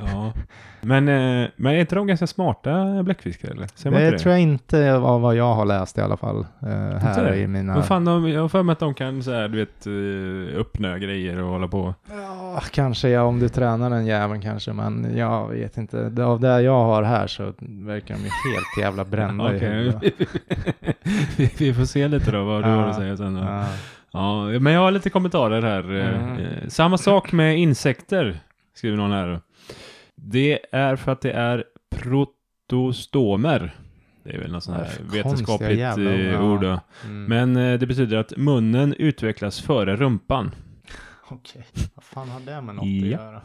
Speaker 2: Ja. Men, eh, men är inte de ganska smarta bläckfiskar eller? Ser man
Speaker 1: Det,
Speaker 2: inte
Speaker 1: tror jag inte var vad jag har läst i alla fall. eh, här
Speaker 2: det?
Speaker 1: i mina...
Speaker 2: Men fan, de, jag har för mig att de kan så här, du vet, eh, öppna grejer och hålla på.
Speaker 1: Ja, kanske ja, om du tränar den jäveln kanske, men jag vet inte. Det- Av det jag har här så verkar de ju helt jävla brända i
Speaker 2: Okej.
Speaker 1: huvudet.
Speaker 2: vi, vi får se lite då vad du
Speaker 1: Ja.
Speaker 2: har att säga sen. Då. Ja.
Speaker 1: Ja.
Speaker 2: men jag har lite kommentarer här.
Speaker 1: Mm.
Speaker 2: Eh, Samma sak med insekter, skriver någon här. Det är för att det är protostomer. Det är väl något sånt
Speaker 1: Ja,
Speaker 2: här
Speaker 1: för konstiga
Speaker 2: vetenskapligt
Speaker 1: jävla
Speaker 2: eh,
Speaker 1: ord, ja.
Speaker 2: ord. Då.
Speaker 1: Mm.
Speaker 2: Men eh, det betyder att munnen utvecklas före rumpan.
Speaker 1: Okej, vad fan har det med något att
Speaker 2: Ja.
Speaker 1: göra?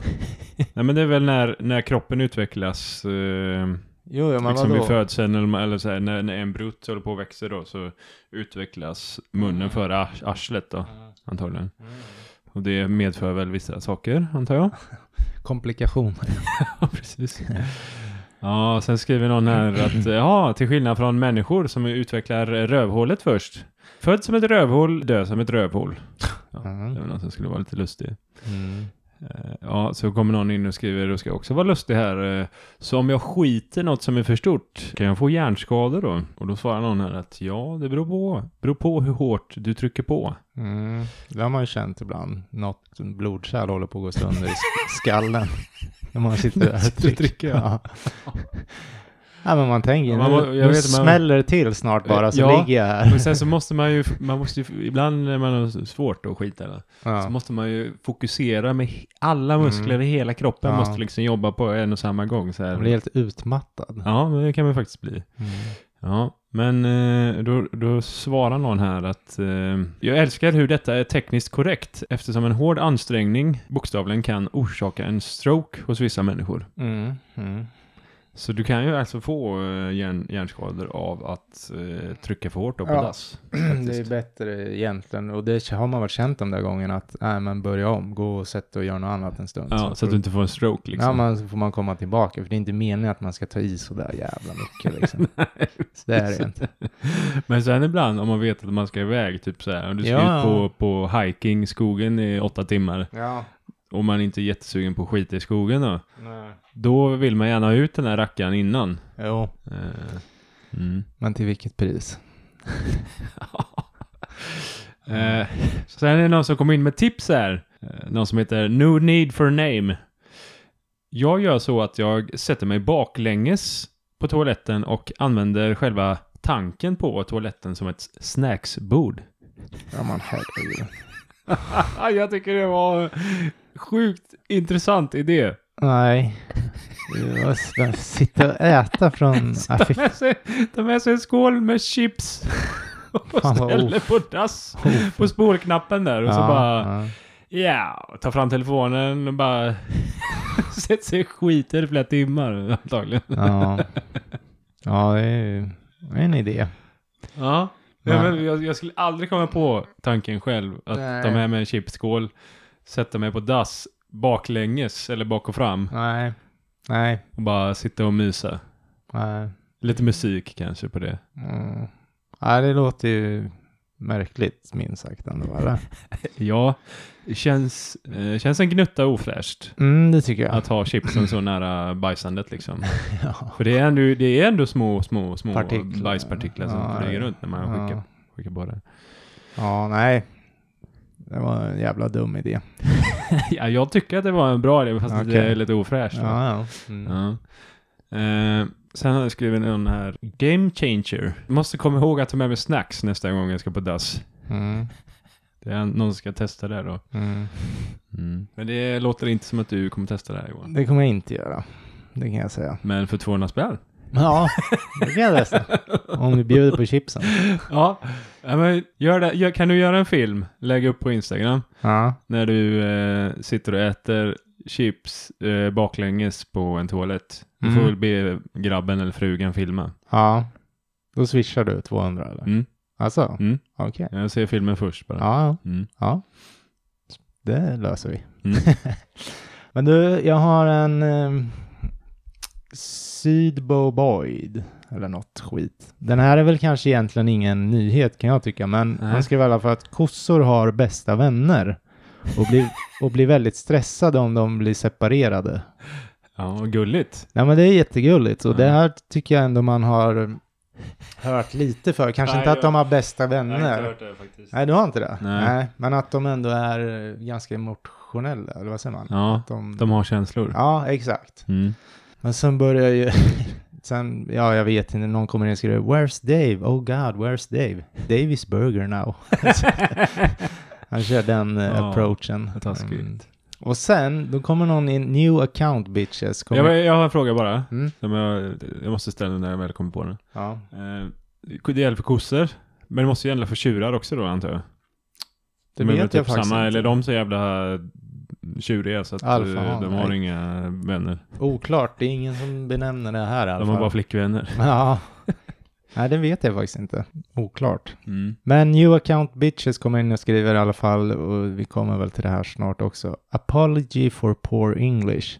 Speaker 2: Nej men det är väl när, när kroppen utvecklas, eh,
Speaker 1: Jo, jo men
Speaker 2: liksom vid
Speaker 1: vadå?
Speaker 2: födseln eller, eller så här, när, när en brut håller på och växer då så utvecklas munnen före ars- arslet då
Speaker 1: Mm,
Speaker 2: antagligen.
Speaker 1: mm.
Speaker 2: Och det medför väl vissa saker antar jag.
Speaker 1: Komplikationer.
Speaker 2: Ja precis. Ja, sen skriver någon här att eh, ja, till skillnad från människor som utvecklar rövhålet först. Född som ett rövhål, dö som ett rövhål. Ja,
Speaker 1: Mm.
Speaker 2: Det var någon som skulle vara lite lustig.
Speaker 1: Mm.
Speaker 2: Eh, Ja, så kommer någon in och skriver, då ska jag också vara lustig här. eh, Så om jag skiter något som är för stort, kan jag få hjärnskador då? Och då svarar någon här att ja, det beror på. Beror på hur hårt du trycker på.
Speaker 1: Mm, det har man ju känt ibland. Något blodkärl håller på att gå sönder i skallen. När man sitter där och
Speaker 2: Sitter och
Speaker 1: trycker.
Speaker 2: trycker,
Speaker 1: ja. Nej, men man tänker,
Speaker 2: Ja, man må-
Speaker 1: nu,
Speaker 2: jag
Speaker 1: nu
Speaker 2: vet, man-
Speaker 1: smäller det till snart bara, så
Speaker 2: Ja.
Speaker 1: ligger jag här.
Speaker 2: Men sen så måste man ju, man måste ju ibland när man har svårt att skita eller, så
Speaker 1: Ja. Mm.
Speaker 2: måste man ju fokusera med he- alla muskler i hela kroppen
Speaker 1: Ja.
Speaker 2: måste liksom jobba på en och samma gång. Så
Speaker 1: Jag
Speaker 2: här.
Speaker 1: blir helt utmattad.
Speaker 2: Ja, men det kan man faktiskt bli.
Speaker 1: Mm.
Speaker 2: Ja, men eh, då, då svarar någon här att eh, jag älskar hur detta är tekniskt korrekt eftersom en hård ansträngning bokstavligen kan orsaka en stroke hos vissa människor.
Speaker 1: Mm. Mm.
Speaker 2: Så du kan ju alltså få eh, hjärn, hjärnskador av att eh, trycka för hårt då på
Speaker 1: Ja.
Speaker 2: dass.
Speaker 1: Det är
Speaker 2: faktiskt.
Speaker 1: bättre egentligen, och det har man varit känt de där gångerna, att nej, men börja om, gå och sätt dig och gör något annat en stund.
Speaker 2: Ja, så att du inte får en stroke liksom.
Speaker 1: Ja, men så får man komma tillbaka, för det är inte meningen att man ska ta i så där jävla mycket. Liksom. det är det inte.
Speaker 2: Men sen ibland om man vet att man ska iväg, typ så här, om du ska
Speaker 1: Ja.
Speaker 2: ut på, på hiking, i skogen i åtta timmar
Speaker 1: Ja,
Speaker 2: och man inte är jättesugen på att skita i skogen då, då vill man gärna ha ut den här rackaren innan.
Speaker 1: Jo,
Speaker 2: Eh, mm.
Speaker 1: men till vilket pris?
Speaker 2: Eh, så sen är det någon som kommer in med tips här. Eh, Någon som heter No Need for Name. Jag gör så att jag sätter mig baklänges på toaletten och använder själva tanken på toaletten som ett snacksbord.
Speaker 1: Ja, man herregud.
Speaker 2: jag tycker det var sjukt intressant idé.
Speaker 1: Nej. Det var s- att Sitta och äta från... Ah, fy
Speaker 2: Ta med sig, ta med sig en skål med chips och
Speaker 1: Fan, vad
Speaker 2: ställer på dass på spolknappen där och så
Speaker 1: ja,
Speaker 2: bara
Speaker 1: ja.
Speaker 2: Ja, och ta fram telefonen och bara sätter sig och skiter i flera timmar antagligen.
Speaker 1: Ja, ja det är ju det är en idé.
Speaker 2: Ja. ja
Speaker 1: Men-
Speaker 2: men jag, jag skulle aldrig komma på tanken själv att
Speaker 1: Nej.
Speaker 2: ta med mig en chipskål, sätta mig på dass baklänges eller bak och fram
Speaker 1: Nej, nej,
Speaker 2: och bara sitta och mysa.
Speaker 1: nej.
Speaker 2: Lite musik kanske på det.
Speaker 1: Mm. Nej, det låter ju märkligt, minst sagt ändå. Eller?
Speaker 2: Ja, det känns, eh, känns en gnutta ofräscht
Speaker 1: Mm, det tycker jag.
Speaker 2: att ha chipsen så nära bajsandet liksom.
Speaker 1: ja.
Speaker 2: För det är ändå, det är ändå små, små, små
Speaker 1: Partiklar.
Speaker 2: bajspartiklar som
Speaker 1: Ja,
Speaker 2: flyger
Speaker 1: ja.
Speaker 2: runt när man skickar,
Speaker 1: Ja.
Speaker 2: skickar på det.
Speaker 1: ja, nej. Det var en jävla dum idé.
Speaker 2: Ja, jag tycker att det var en bra idé, fast
Speaker 1: Okej.
Speaker 2: det är lite ofräscht. Ja.
Speaker 1: Ja, ja. Mm.
Speaker 2: Eh, sen har jag skrivit någon här, Game Changer. Måste komma ihåg att ta med mig snacks nästa gång jag ska på dass.
Speaker 1: Mm.
Speaker 2: Det är en- någon som ska testa det då.
Speaker 1: Mm.
Speaker 2: Men det låter inte som att du kommer testa det här Johan.
Speaker 1: Det kommer jag inte göra. Det kan jag säga.
Speaker 2: Men för 200 spänn?
Speaker 1: Ja, det kan jag läsa. Om du bjuder på chipsen.
Speaker 2: ja. ja men gör det. Gör, kan du göra en film? Lägg upp på Instagram.
Speaker 1: Ja,
Speaker 2: När du eh, sitter och äter chips eh, baklänges på en toalett. Du får
Speaker 1: Mm.
Speaker 2: väl be grabben eller frugan filma.
Speaker 1: ja. Då swishar du 200 eller?
Speaker 2: Mm.
Speaker 1: Alltså?
Speaker 2: Mm.
Speaker 1: Okej.
Speaker 2: Jag ser filmen först bara.
Speaker 1: Ja,
Speaker 2: Mm.
Speaker 1: ja. Det löser vi.
Speaker 2: Mm.
Speaker 1: Men du, jag har en eh, Sydboboid eller något skit. Den här är väl kanske egentligen ingen nyhet kan jag tycka, men
Speaker 2: Nej.
Speaker 1: han skrev i alla fall att kossor har bästa vänner och blir, och blir väldigt stressade om de blir separerade.
Speaker 2: Ja, vad gulligt.
Speaker 1: Nej men det är jättegulligt och
Speaker 2: Ja.
Speaker 1: det här tycker jag ändå man har hört lite för. Kanske
Speaker 2: Nej,
Speaker 1: inte att
Speaker 2: jag-
Speaker 1: de har bästa
Speaker 2: Jag har inte
Speaker 1: vänner.
Speaker 2: hört det faktiskt.
Speaker 1: Nej, du har inte det?
Speaker 2: Nej.
Speaker 1: men att de ändå är eh, ganska emotionella, eller vad säger man?
Speaker 2: Ja,
Speaker 1: Att de,
Speaker 2: de har känslor.
Speaker 1: Ja, exakt.
Speaker 2: Mm.
Speaker 1: Men sen börjar ju... sen, ja, jag vet inte, någon kommer in och skriver “Where's Dave? Oh God, where's Dave? Dave is burger now”. Han kör den eh,
Speaker 2: Ja,
Speaker 1: approachen. Mm.
Speaker 2: vad taskigt.
Speaker 1: Och sen, då kommer någon in, “New account bitches”. Kommer,
Speaker 2: Jag, jag har en fråga bara.
Speaker 1: Mm.
Speaker 2: Som jag, jag måste ställa när jag väl kommer på den.
Speaker 1: ja.
Speaker 2: Eh, det gäller för kossor. Men det måste ju gälla för tjurar också då antar jag.
Speaker 1: Det
Speaker 2: de är
Speaker 1: vet
Speaker 2: väl
Speaker 1: jag
Speaker 2: typ
Speaker 1: faktiskt
Speaker 2: samma,
Speaker 1: inte.
Speaker 2: Eller de så jävla tjuriga så att eh,
Speaker 1: Alfahanar.
Speaker 2: de har inga vänner.
Speaker 1: Oklart, det är ingen som benämner det här i alla
Speaker 2: De har
Speaker 1: fall.
Speaker 2: bara flickvänner.
Speaker 1: Ja. Nej, det vet jag faktiskt inte. Oklart.
Speaker 2: Mm.
Speaker 1: Men new account bitches kommer in och skriver i alla fall, och vi kommer väl till det här snart också. Apology for poor English.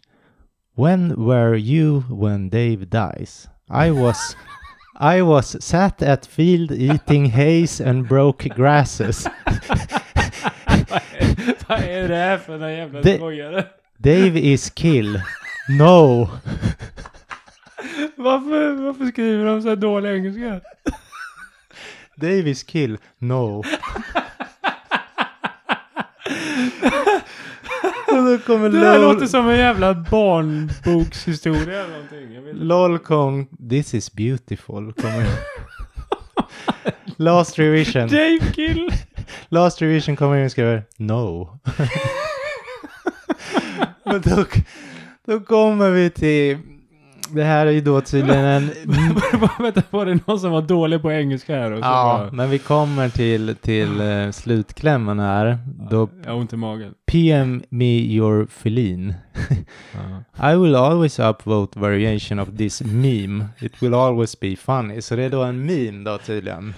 Speaker 1: When were you when Dave dies? I was... I was sat at field eating haze and broke grasses.
Speaker 2: Vad är det här för den jävla
Speaker 1: Det-
Speaker 2: skojare?
Speaker 1: Dave is kill. No!
Speaker 2: Varför, varför skriver de så här dålig engelska?
Speaker 1: Dave is kill. No. Och då kommer
Speaker 2: Det där
Speaker 1: LOL.
Speaker 2: låter som en jävla barnbokshistoria eller någonting. Jag vet inte.
Speaker 1: LOL kom. This is beautiful. Kommer. Last revision.
Speaker 2: Dave Kill!
Speaker 1: Last revision kommer in och skriver no. Men då, då kommer vi till... Det här är ju då tydligen en...
Speaker 2: Vänta, var det någon som var dålig på engelska här? Och så
Speaker 1: Ja,
Speaker 2: bara,
Speaker 1: men vi kommer till, till eh, slutklämmen här. Då
Speaker 2: Jag har ont i magen.
Speaker 1: PM me your feline. I will always upvote variation of this meme. It will always be funny. Så det är då en meme då tydligen.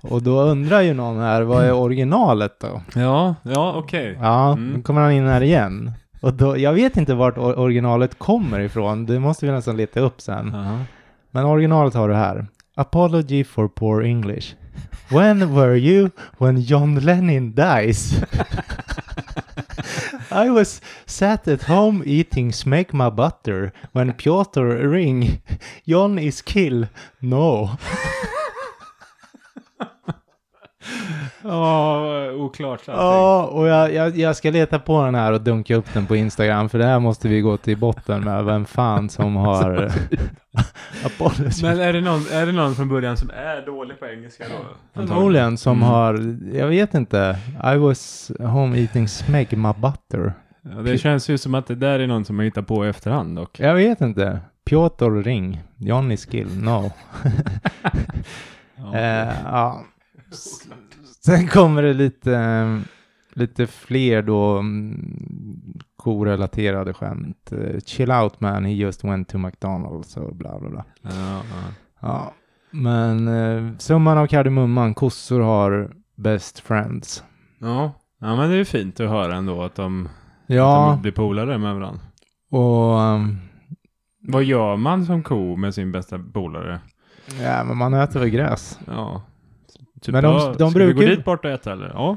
Speaker 1: Och då undrar ju någon här, vad är originalet då?
Speaker 2: Ja, ja okej.
Speaker 1: Ja,
Speaker 2: Mm.
Speaker 1: nu kommer han in här igen. Och då, jag vet inte vart or- originalet kommer ifrån. Det måste vi nästan leta upp sen.
Speaker 2: Ja.
Speaker 1: Men originalet har du här. Apology for poor English. When were you when John Lennon dies? I was sat at home eating smegma butter when Piotr ring. John is kill. No.
Speaker 2: Ja, oklart allting.
Speaker 1: Ja, och jag, jag, jag ska leta på den här och dunka upp den på Instagram, för det här måste vi gå till botten med. Vem fan som har... Apollos.
Speaker 2: Men är det, någon, är det någon från början som är dålig på engelska då?
Speaker 1: Förmodligen som
Speaker 2: Mm.
Speaker 1: har... Jag vet inte. I was home eating smegma butter.
Speaker 2: Ja, det känns ju som att det där är någon som har hittat på i efterhand dock.
Speaker 1: Jag vet inte. Piotr ring. Johnny skill. No.
Speaker 2: Ja.
Speaker 1: Eh, ja. S- Sen kommer det lite, eh, lite fler då mm, korelaterade skämt. Eh, Chill out man, he just went to McDonalds och bla bla bla.
Speaker 2: Ja, ja.
Speaker 1: Ja. Men eh, summan av kardemumman, kossor har best friends.
Speaker 2: Ja. ja, men det är ju fint att höra ändå att de, att
Speaker 1: Ja,
Speaker 2: de blir polare med varandra.
Speaker 1: och ehm,
Speaker 2: Vad gör man som ko med sin bästa polare?
Speaker 1: ja, men man äter väl gräs.
Speaker 2: Ja. Typ,
Speaker 1: Men de-
Speaker 2: ja,
Speaker 1: de
Speaker 2: ska vi gå
Speaker 1: brukar ju-
Speaker 2: dit bort och äta eller? Ja.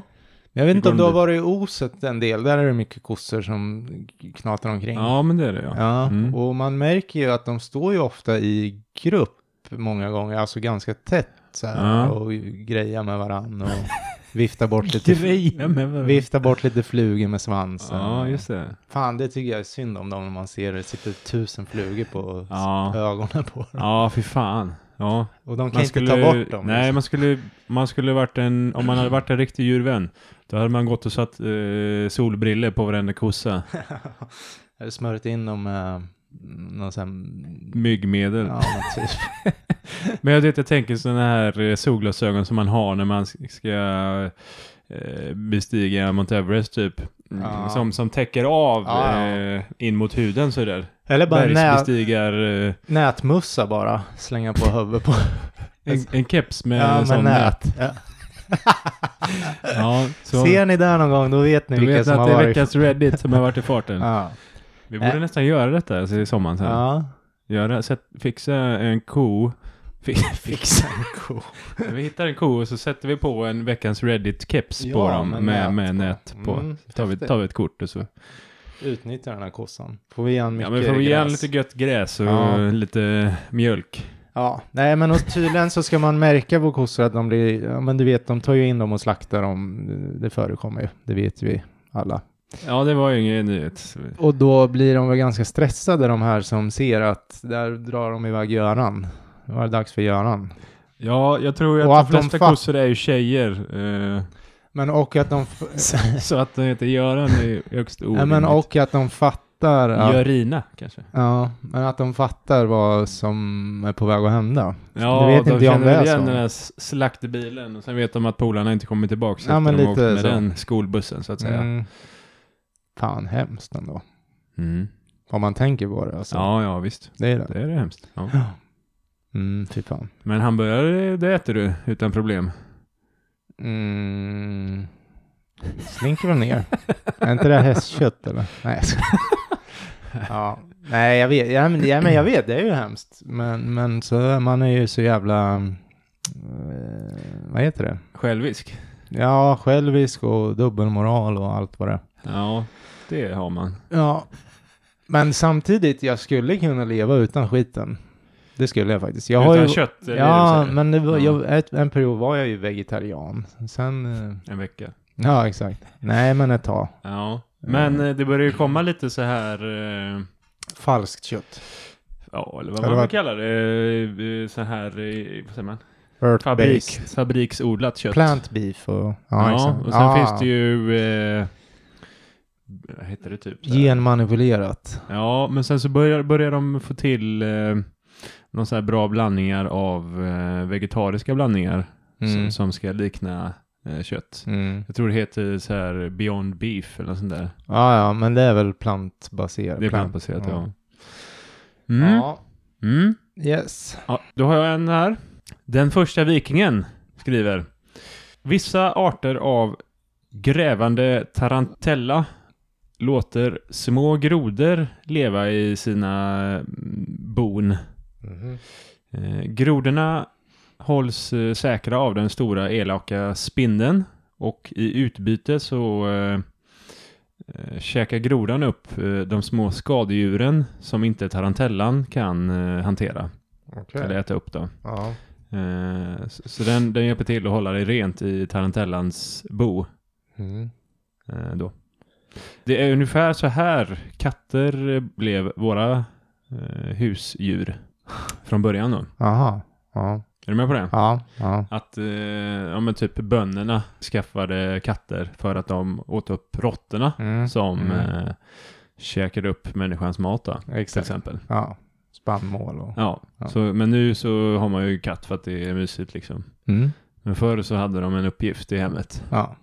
Speaker 1: Jag vet
Speaker 2: Det
Speaker 1: inte om
Speaker 2: går
Speaker 1: du har
Speaker 2: dit.
Speaker 1: varit i Oset en del, där är det mycket kossor som knatar omkring.
Speaker 2: Ja, men det är det ja.
Speaker 1: Ja,
Speaker 2: Mm.
Speaker 1: och man märker ju att de står ju ofta i grupp många gånger, alltså ganska tätt så här,
Speaker 2: Ja.
Speaker 1: och grejar med varandra och viftar bort lite,
Speaker 2: Grejer med varandra.
Speaker 1: viftar bort lite flugor med svansen.
Speaker 2: Ja, just det.
Speaker 1: Fan, det tycker jag är synd om dem när man ser det sitter tusen flugor på
Speaker 2: Ja,
Speaker 1: ögonen på dem.
Speaker 2: ja fy fan. Ja.
Speaker 1: Och de kan
Speaker 2: Man
Speaker 1: inte
Speaker 2: skulle,
Speaker 1: ta bort dem.
Speaker 2: Nej,
Speaker 1: liksom.
Speaker 2: man skulle, man skulle varit en, om man hade varit en riktig djurvän, då hade man gått och satt eh, solbriller på varenda kossa.
Speaker 1: Eller smörjt in dem med någon sån här...
Speaker 2: Myggmedel.
Speaker 1: Ja, något typ.
Speaker 2: Men jag, vet, jag tänker sådana här eh, solglasögon som man har när man ska eh, bestiga Mount Everest typ.
Speaker 1: Ja.
Speaker 2: Som, som täcker av
Speaker 1: Ja, ja.
Speaker 2: eh, in mot huden sådär.
Speaker 1: Eller bara nät,
Speaker 2: Bergsbestigar, eh,
Speaker 1: nätmussa bara, slänga på huvudet på.
Speaker 2: en, en keps med
Speaker 1: Ja,
Speaker 2: en
Speaker 1: med
Speaker 2: sån
Speaker 1: nät. Ja.
Speaker 2: Ja, så,
Speaker 1: Ser ni där någon gång, då vet ni
Speaker 2: du
Speaker 1: vilka
Speaker 2: vet
Speaker 1: som
Speaker 2: att
Speaker 1: har
Speaker 2: det är
Speaker 1: varit.
Speaker 2: veckans Reddit som har varit i farten.
Speaker 1: Ja.
Speaker 2: Vi borde
Speaker 1: Äh.
Speaker 2: nästan göra detta alltså, i sommaren sen.
Speaker 1: ja.
Speaker 2: Göra, sätt, fixa en ko. Fi- Fixa. vi hittar en ko och så sätter vi på en veckans Reddit-keps på
Speaker 1: Ja,
Speaker 2: dem
Speaker 1: med
Speaker 2: med, med,
Speaker 1: nät på.
Speaker 2: nät på.
Speaker 1: Mm,
Speaker 2: Så tar, vi,
Speaker 1: häftigt.
Speaker 2: tar vi ett kort och så.
Speaker 1: Utnyttja den här kossan. Får vi igen mycket
Speaker 2: Ja, men får vi ge
Speaker 1: gräs.
Speaker 2: lite gött gräs och
Speaker 1: Ja.
Speaker 2: lite mjölk.
Speaker 1: Ja, nej men och tydligen så ska man märka på kossor att de blir, ja men du vet de tar ju in dem och slaktar dem, det förekommer ju, det vet vi alla.
Speaker 2: Ja, det var ju ingen nyhet.
Speaker 1: Och då blir de väl ganska stressade de här som ser att där drar de iväg Göran. Nu var det dags för Göran.
Speaker 2: Ja, jag tror ju
Speaker 1: Och
Speaker 2: att
Speaker 1: att de
Speaker 2: de flesta
Speaker 1: fa-
Speaker 2: kossor är ju tjejer. eh,
Speaker 1: Men och att de, f-
Speaker 2: så att de heter Göran är ju högst
Speaker 1: nej,
Speaker 2: orimligt.
Speaker 1: men och att de fattar att,
Speaker 2: Görina kanske?
Speaker 1: ja, men att de fattar vad som är på väg att hända.
Speaker 2: Ja,
Speaker 1: Det vet
Speaker 2: de
Speaker 1: inte jag om
Speaker 2: känner
Speaker 1: det är
Speaker 2: väl igen
Speaker 1: så.
Speaker 2: den här s- slaktbilen och sen vet de att polarna inte kommer tillbaka
Speaker 1: Ja,
Speaker 2: efter
Speaker 1: men
Speaker 2: de
Speaker 1: lite
Speaker 2: åkt med
Speaker 1: så.
Speaker 2: den skolbussen så att säga.
Speaker 1: Mm. Fan, hemskt ändå.
Speaker 2: Mm.
Speaker 1: Om man tänker på det alltså.
Speaker 2: Ja, ja visst.
Speaker 1: Det är det.
Speaker 2: Det är det hemskt. Ja.
Speaker 1: Mm, fy fan.
Speaker 2: Men hamburgare, det äter du utan problem.
Speaker 1: Mm. Slinker väl ner. är inte det här hästkött eller? Nej, jag skojar. Ja, nej jag vet, ja, men, ja, men jag vet, det är ju hemskt. Men, men så, man är ju så jävla, eh, vad heter det?
Speaker 2: Självisk.
Speaker 1: Ja, självisk och dubbelmoral och allt vad det är.
Speaker 2: Ja, det har man.
Speaker 1: Ja. Men samtidigt, jag skulle kunna leva utan skiten. Det skulle jag faktiskt. Jag
Speaker 2: Utan
Speaker 1: har ju,
Speaker 2: kött eller
Speaker 1: Ja,
Speaker 2: är det så här?
Speaker 1: men det var,
Speaker 2: Ja.
Speaker 1: jag, ett, en period var jag ju vegetarian. Sen... eh,
Speaker 2: En vecka.
Speaker 1: Ja, exakt. Nej, men ett tag.
Speaker 2: Ja.
Speaker 1: Mm.
Speaker 2: Men eh, det börjar ju komma lite så här... eh,
Speaker 1: Falskt kött.
Speaker 2: Ja, eller vad
Speaker 1: Eller
Speaker 2: man
Speaker 1: vad-
Speaker 2: vill kalla det. Eh, eh, Så här, eh, vad säger man?
Speaker 1: Earth-based.
Speaker 2: Fabriks, fabriksodlat kött.
Speaker 1: Plant beef och... Ja,
Speaker 2: Ja,
Speaker 1: exakt.
Speaker 2: och sen
Speaker 1: Ah,
Speaker 2: finns det ju... Eh, vad heter det typ? så här?
Speaker 1: Genmanipulerat.
Speaker 2: Ja, men sen så börjar, börjar de få till eh, någon så här bra blandningar av eh, vegetariska blandningar som,
Speaker 1: Mm.
Speaker 2: som ska likna eh, kött.
Speaker 1: Mm.
Speaker 2: Jag tror det heter så här Beyond Beef eller något sånt där.
Speaker 1: Ja, ja, men det är väl plantbaserat.
Speaker 2: Det är plantbaserat, ja.
Speaker 1: Ja.
Speaker 2: Mm. Mm.
Speaker 1: Yes.
Speaker 2: Ja, då har jag en här. Den första vikingen skriver. Vissa arter av grävande tarantella låter små grodor leva i sina mm, bon.
Speaker 1: Mhm,
Speaker 2: Eh, grodorna hålls eh, säkra av den stora elaka spindeln och i utbyte så eh, eh, käkar grodan upp eh, de små skadedjuren som inte tarantellan kan eh, hantera
Speaker 1: Okej.
Speaker 2: eller äta upp. Då.
Speaker 1: Ja.
Speaker 2: Eh, så så den, den hjälper till att hålla dig rent i tarantellans bo.
Speaker 1: Mm.
Speaker 2: Eh, då. Det är ungefär så här katter eh, blev våra eh, husdjur från början. Då. Är
Speaker 1: Aha. Ja.
Speaker 2: du med på det?
Speaker 1: Ja. ja.
Speaker 2: Att eh, ja, men typ bönderna skaffade katter för att de åt upp råttorna
Speaker 1: Mm.
Speaker 2: som
Speaker 1: Mm.
Speaker 2: eh, käkade upp människans mat då, till
Speaker 1: Exakt.
Speaker 2: exempel.
Speaker 1: Ja. Spannmål och...
Speaker 2: Ja,
Speaker 1: Ja.
Speaker 2: Så, men nu så har man ju katt för att det är mysigt liksom.
Speaker 1: Mm.
Speaker 2: Men förr så hade de en uppgift i hemmet.
Speaker 1: Ja.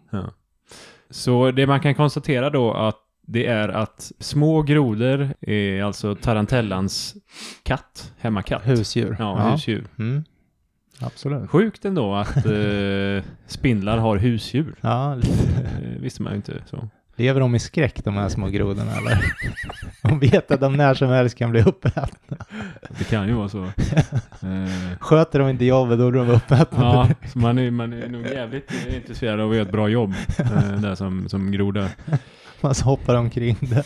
Speaker 2: Så det man kan konstatera då att det är att små grodor är alltså tarantellans katt, hemmakatt.
Speaker 1: Husdjur.
Speaker 2: Ja, husdjur.
Speaker 1: Mm. Absolut.
Speaker 2: Sjukt ändå att eh, spindlar har husdjur.
Speaker 1: Ja, lite.
Speaker 2: Eh, visste man ju inte. Så.
Speaker 1: Lever de i skräck de här små grodorna eller? De vet att de när som helst kan bli uppätna.
Speaker 2: Det kan ju vara så. Eh,
Speaker 1: Sköter de inte jobbet då blir de uppätna.
Speaker 2: ja, så man är, man är nog jävligt intresserad av att göra ett bra jobb eh, där som, som groda.
Speaker 1: Man så hoppar omkring där.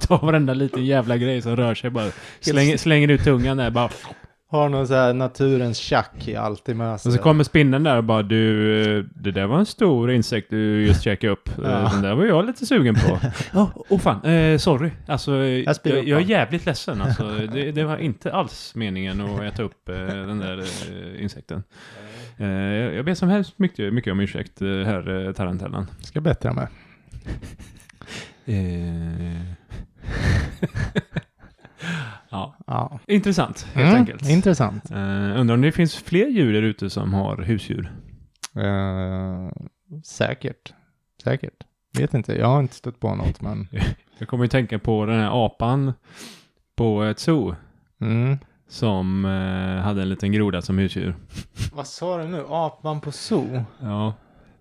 Speaker 2: Ta varenda liten jävla grej som rör sig bara. Slänger, slänger ut tungan där bara.
Speaker 1: Har någon så här naturens tjack i alltid med sig.
Speaker 2: Och så kommer spindeln där och bara du, eh, det där var en stor insekt du just checkade upp. Eh,
Speaker 1: Ja.
Speaker 2: Den där var jag lite sugen på. Åh oh, fan, eh, sorry. Alltså, eh,
Speaker 1: Jag
Speaker 2: jag,
Speaker 1: spyr upp
Speaker 2: jag, är
Speaker 1: den.
Speaker 2: jävligt ledsen. Alltså, det, det var inte alls meningen att äta upp eh, den där eh, insekten. Eh, jag jag ber som helst mycket, mycket om ursäkt, eh, herr eh, Tarantellan.
Speaker 1: Ska bättra mig.
Speaker 2: Eh, ja,
Speaker 1: Ja.
Speaker 2: intressant helt
Speaker 1: Mm,
Speaker 2: enkelt.
Speaker 1: Intressant.
Speaker 2: Eh, undrar om det finns fler djur där ute som har husdjur?
Speaker 1: Eh, säkert. Säkert. Vet inte. Jag har inte stött på något men.
Speaker 2: Jag kommer ju tänka på den här apan på ett zoo
Speaker 1: Mm.
Speaker 2: som eh, hade en liten groda som husdjur.
Speaker 1: Vad sa du nu? Apan på zoo?
Speaker 2: Ja,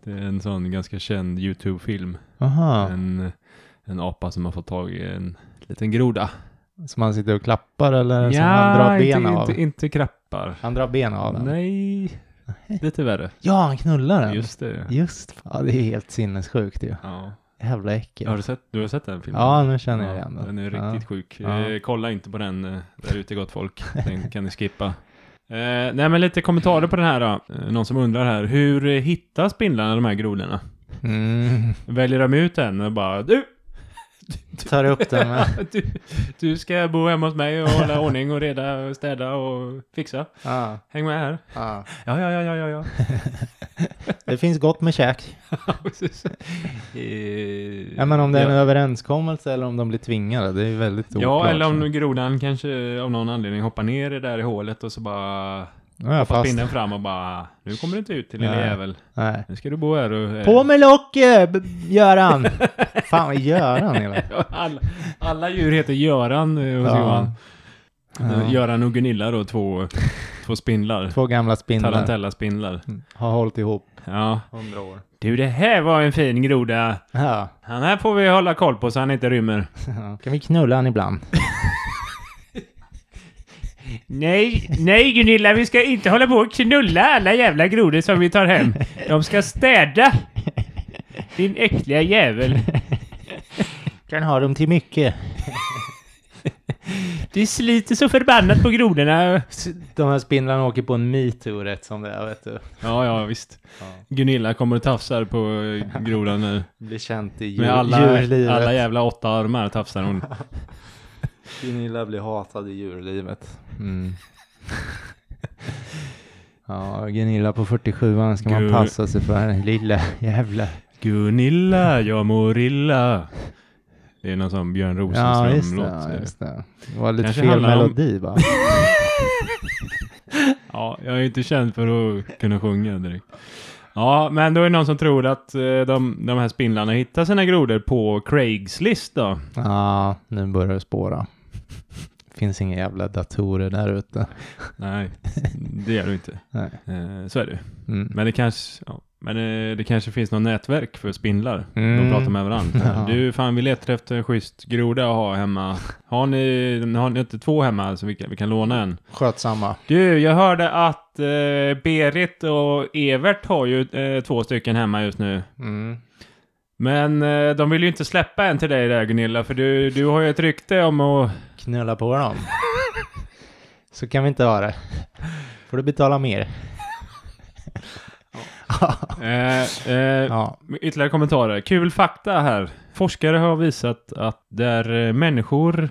Speaker 2: det är en sån ganska känd YouTube-film.
Speaker 1: Aha.
Speaker 2: En, en apa som har fått tag i en liten groda.
Speaker 1: Som han sitter och klappar eller som han drar
Speaker 2: inte,
Speaker 1: ben av?
Speaker 2: inte, inte krappar.
Speaker 1: Han drar ben av den.
Speaker 2: Nej, lite värre.
Speaker 1: Ja, han knullar den.
Speaker 2: Just det.
Speaker 1: Just ja, det är helt sinnessjukt ju.
Speaker 2: Ja.
Speaker 1: Jävla äckel.
Speaker 2: Har du, sett, du har sett den filmen?
Speaker 1: Ja, nu känner jag igen
Speaker 2: den. Den är
Speaker 1: Ja.
Speaker 2: riktigt sjuk.
Speaker 1: Ja.
Speaker 2: Eh, kolla inte på den eh, där ute gott folk. Den kan ni skippa. Eh, nej, men lite kommentarer på den här då. Eh, någon som undrar här. Hur eh, hittar spindlarna de här grodorna?
Speaker 1: Mm.
Speaker 2: Väljer de ut en och bara du,
Speaker 1: Tar upp den med.
Speaker 2: du, du ska bo hemma hos mig och hålla ordning och reda och städa och fixa.
Speaker 1: Ja,
Speaker 2: Häng med här.
Speaker 1: ja.
Speaker 2: Ja, ja, ja, ja, ja. ja.
Speaker 1: Det finns gott med käk.
Speaker 2: Precis. Eh,
Speaker 1: Ja, men om det är en
Speaker 2: ja.
Speaker 1: överenskommelse eller om de blir tvingade, det är väldigt oklart.
Speaker 2: Ja, eller
Speaker 1: så.
Speaker 2: om grodan kanske av någon anledning hoppar ner det där i hålet och så bara
Speaker 1: Nu är jag
Speaker 2: hoppar
Speaker 1: fast.
Speaker 2: spindeln fram och bara Nu kommer du inte ut till
Speaker 1: Nej.
Speaker 2: lille jävel.
Speaker 1: Nej.
Speaker 2: Nu ska du bo här och... eh,
Speaker 1: På med locket, B- Göran! Fan, vad Göran hela.
Speaker 2: alla, alla djur heter Göran eh, hos
Speaker 1: Ja.
Speaker 2: Johan.
Speaker 1: Ja.
Speaker 2: Göran och Gunilla då, två, två spindlar.
Speaker 1: Två gamla spindlar Mm.
Speaker 2: Tarantella-spindlar.
Speaker 1: har hållit ihop.
Speaker 2: Ja.
Speaker 1: Hundra år.
Speaker 2: Du, det här var en fin groda.
Speaker 1: Ja.
Speaker 2: Han här får vi hålla koll på så han inte rymmer.
Speaker 1: Kan vi knulla han ibland?
Speaker 3: Nej, nej Gunilla, vi ska inte hålla på och knulla alla jävla grodor som vi tar hem. De ska städa. Din äckliga jävel.
Speaker 1: Kan ha dem till mycket.
Speaker 3: Det sliter så förbannat på grodorna.
Speaker 1: De här spindlarna åker på en metoo rätt som det är, vet du.
Speaker 2: Ja, ja, visst. Gunilla kommer och tafsar på eh, grodan nu.
Speaker 1: Blir känt i djur,
Speaker 2: Med alla,
Speaker 1: djurlivet.
Speaker 2: alla jävla åtta armar tafsar hon.
Speaker 1: Gunilla blir hatad i djurlivet. Mm. ja, Gunilla på 47an ska man
Speaker 2: Gu-
Speaker 1: passa sig för. Lilla jävla.
Speaker 2: Gunilla, jag mår illa. Det är någon sån Björn
Speaker 1: Ja, just
Speaker 2: Rosenström-låt.
Speaker 1: det. Ja, just det. det var lite
Speaker 2: Kanske
Speaker 1: fel
Speaker 2: handlar om-
Speaker 1: melodi va?
Speaker 2: Ja, jag är inte känd för att kunna sjunga direkt. Ja, men då är det någon som tror att eh, de, de här spindlarna hittar sina grodor på Craigslist då.
Speaker 1: Ja, nu börjar det spåra. Finns inga jävla datorer där ute.
Speaker 2: Nej, det gör du inte.
Speaker 1: Nej.
Speaker 2: Eh, så är det.
Speaker 1: Mm.
Speaker 2: Men det kanske, ja, men eh, det kanske finns något nätverk för spindlar.
Speaker 1: Mm.
Speaker 2: De pratar med
Speaker 1: Ja.
Speaker 2: varandra. Du, fan vi letar efter en schysst groda att ha hemma. Har ni, har ni inte två hemma så vi kan, vi kan låna en?
Speaker 1: Skötsamma.
Speaker 2: Du, jag hörde att eh, Berit och Evert har ju eh, två stycken hemma just nu.
Speaker 1: Mm.
Speaker 2: Men eh, de vill ju inte släppa en till dig där Gunilla, för du, du har ju ett rykte om att...
Speaker 1: Knulla på dem. Så kan vi inte ha det. Får du betala mer.
Speaker 2: Eh, eh,
Speaker 1: Ja.
Speaker 2: ytterligare kommentarer. Kul fakta här. Forskare har visat att där eh, människor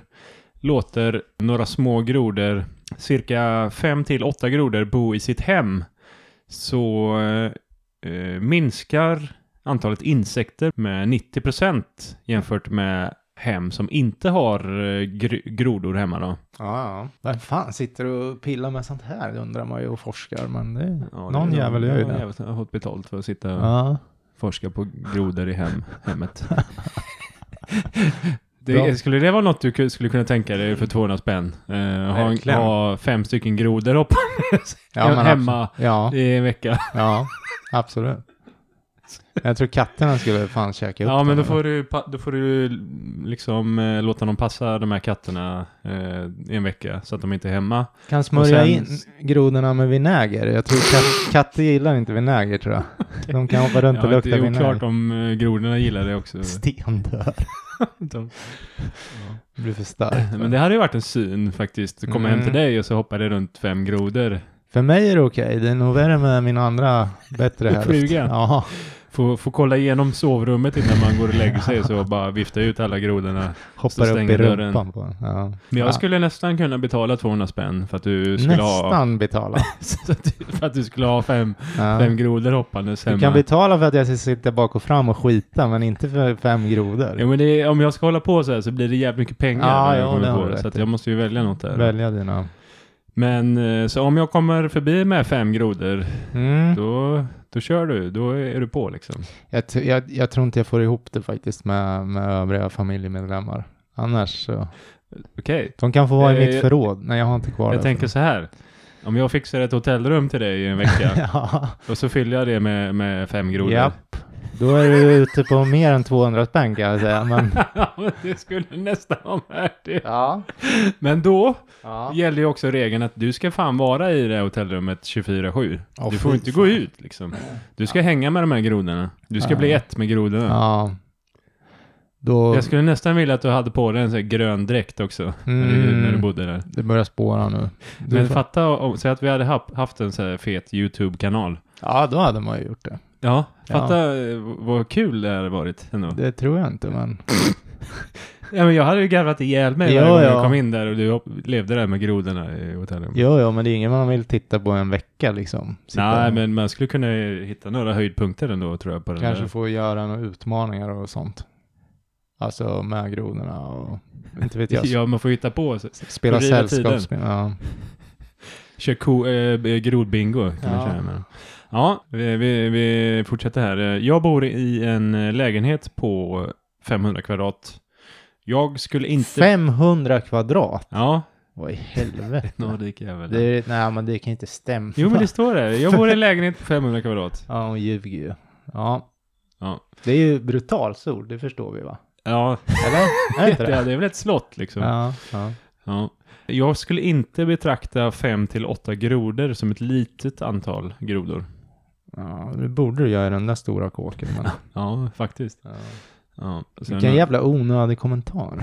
Speaker 2: låter några små grodor, cirka 5 till 8 grodor, bo i sitt hem så eh, eh, minskar antalet insekter med 90 procent jämfört med hem som inte har eh, gr- grodor hemma då.
Speaker 1: Ja, vem fan sitter och pillar med sånt här? Det undrar man ju och forskar, men det är...
Speaker 2: Ja,
Speaker 1: någon
Speaker 2: är
Speaker 1: jävel gör ju
Speaker 2: någon
Speaker 1: det.
Speaker 2: jävel som har fått betalt för att sitta och
Speaker 1: Ja.
Speaker 2: forska på grodor i hem, hemmet.
Speaker 1: Bra.
Speaker 2: Det, skulle det vara något du ku- skulle kunna tänka dig för 200 spänn? Eh, ha, en-
Speaker 1: Verkligen.
Speaker 2: ha fem stycken grodor hoppandes
Speaker 1: Ja, men alltså.
Speaker 2: hemma
Speaker 1: abs- Ja,
Speaker 2: i en vecka.
Speaker 1: ja, absolut. Jag tror katterna skulle fan käka upp
Speaker 2: Ja,
Speaker 1: dem,
Speaker 2: men
Speaker 1: eller?
Speaker 2: då får du, pa- då får du liksom eh, låta dem passa de här katterna eh, i en vecka så att de inte är hemma.
Speaker 1: Kan smörja
Speaker 2: och sen-
Speaker 1: in grodorna med vinäger. Jag tror kat- katter gillar inte vinäger, tror jag. De kan hoppa runt och
Speaker 2: Ja, det
Speaker 1: lukta
Speaker 2: är oklart
Speaker 1: vinäger.
Speaker 2: om eh, grodorna gillar det också.
Speaker 1: Stendör.
Speaker 2: De-
Speaker 1: Det blir för starkt.
Speaker 2: Men det hade ju varit en syn faktiskt. Komma hem till
Speaker 1: Mm.
Speaker 2: dig och så hoppar det runt fem grodor.
Speaker 1: För mig är det okej. Det är nog värre med min andra bättre hälft.
Speaker 2: Frugan.
Speaker 1: Ja.
Speaker 2: Får, får kolla igenom sovrummet innan man går och lägger sig så bara vifta ut alla grodorna. Så
Speaker 1: Hoppar upp i
Speaker 2: stänger dörren.
Speaker 1: rumpan på den. Ja.
Speaker 2: Men jag
Speaker 1: Ja.
Speaker 2: skulle nästan kunna betala 200 spänn för att du skulle ha...
Speaker 1: Nästan betala.
Speaker 2: så att du- för att du skulle ha fem,
Speaker 1: Ja.
Speaker 2: fem grodor hoppandes hemma.
Speaker 1: Du kan betala för att jag ska sitta bak och fram och skita, men inte för fem grodor.
Speaker 2: ja, men det, är- om jag ska hålla på så här så blir det jävligt mycket pengar.
Speaker 1: Ja,
Speaker 2: när jag
Speaker 1: ja,
Speaker 2: kommer
Speaker 1: det har
Speaker 2: på
Speaker 1: du rätt
Speaker 2: så att
Speaker 1: i.
Speaker 2: jag måste ju välja något där.
Speaker 1: Välja dina.
Speaker 2: Men eh, så om jag kommer förbi med fem grodor,
Speaker 1: Mm.
Speaker 2: då, då kör du. Då är du på liksom.
Speaker 1: Jag, t- jag, jag tror inte jag får ihop det faktiskt med, med övriga familjemedlemmar. Annars så.
Speaker 2: Okej.
Speaker 1: De kan få vara
Speaker 2: Eh,
Speaker 1: i mitt
Speaker 2: jag-
Speaker 1: förråd. Nej, jag har inte kvar
Speaker 2: Jag
Speaker 1: det.
Speaker 2: tänker så här. Om jag fixar ett hotellrum till dig i en vecka
Speaker 1: ja.
Speaker 2: och så fyller jag det med, med fem grodor.
Speaker 1: Japp. Då är du ute på mer än 200 spänn kan jag säga. Men,
Speaker 2: Ja, men det skulle nästan vara värt det.
Speaker 1: ja.
Speaker 2: Men då
Speaker 1: ja.
Speaker 2: gäller ju också regeln att du ska fan vara i det här hotellrummet 24-7.
Speaker 1: Åh,
Speaker 2: du får
Speaker 1: fy
Speaker 2: inte gå ut liksom. Du ska hänga med de här grodorna. Du ska
Speaker 1: Ja.
Speaker 2: bli ett med grodorna.
Speaker 1: Ja. Då
Speaker 2: Jag skulle nästan vilja att du hade på dig en sån här grön dräkt också. När, du,
Speaker 1: Mm.
Speaker 2: när du bodde där.
Speaker 1: det börjar spåra nu. Du
Speaker 2: Men
Speaker 1: får-
Speaker 2: fatta, om, säg att vi hade hap- haft en sån här fet YouTube-kanal.
Speaker 1: Ja, då hade man ju gjort det.
Speaker 2: Ja,
Speaker 1: Ja.
Speaker 2: fatta eh, vad kul det hade varit ändå.
Speaker 1: Det tror jag inte, men
Speaker 2: Ja, men jag hade ju garvat ihjäl mig
Speaker 1: Ja,
Speaker 2: varje gång
Speaker 1: ja.
Speaker 2: jag kom in där och du hopp- levde där med grodorna i hotellrummet.
Speaker 1: jo, jo, men det är ingen man vill titta på en vecka liksom. Sitta
Speaker 2: Nej,
Speaker 1: och-
Speaker 2: men man skulle kunna hitta några höjdpunkter ändå tror jag på den
Speaker 1: Kanske
Speaker 2: där.
Speaker 1: få göra några utmaningar och sånt. Alltså med grodorna och inte vet jag.
Speaker 2: Ja, man får hitta på. så-
Speaker 1: Spela
Speaker 2: fördriva tiden.
Speaker 1: sällskapsspel. Ja.
Speaker 2: Kör ko, eh, grodbingo. Kan
Speaker 1: Ja.
Speaker 2: man köra med. dem. ja vi, vi, vi fortsätter här. Eh, Jag bor i en eh, lägenhet på 500 kvadrat. Jag skulle inte...
Speaker 1: 500 kvadrat?
Speaker 2: Ja,
Speaker 1: Vad i helvete.
Speaker 2: någon rik jävel.
Speaker 1: Det är, nej, men det kan ju inte stämma.
Speaker 2: Jo, men det står det. Jag bor i en lägenhet på 500 kvadrat.
Speaker 1: Ja, hon ljuger ju. Ja.
Speaker 2: Ja.
Speaker 1: Det är ju brutalt sol, det förstår vi va?
Speaker 2: Ja,
Speaker 1: Eller? Är det inte
Speaker 2: det
Speaker 1: det?
Speaker 2: är väl ett slott liksom.
Speaker 1: Ja, ja.
Speaker 2: Ja. Jag skulle inte betrakta 5 till 8 grodor som ett litet antal grodor.
Speaker 1: Ja, det borde du göra i den där stora kåken. Men,
Speaker 2: Ja, faktiskt.
Speaker 1: ja.
Speaker 2: Ja. Sen,
Speaker 1: Vilken jävla onödig kommentar.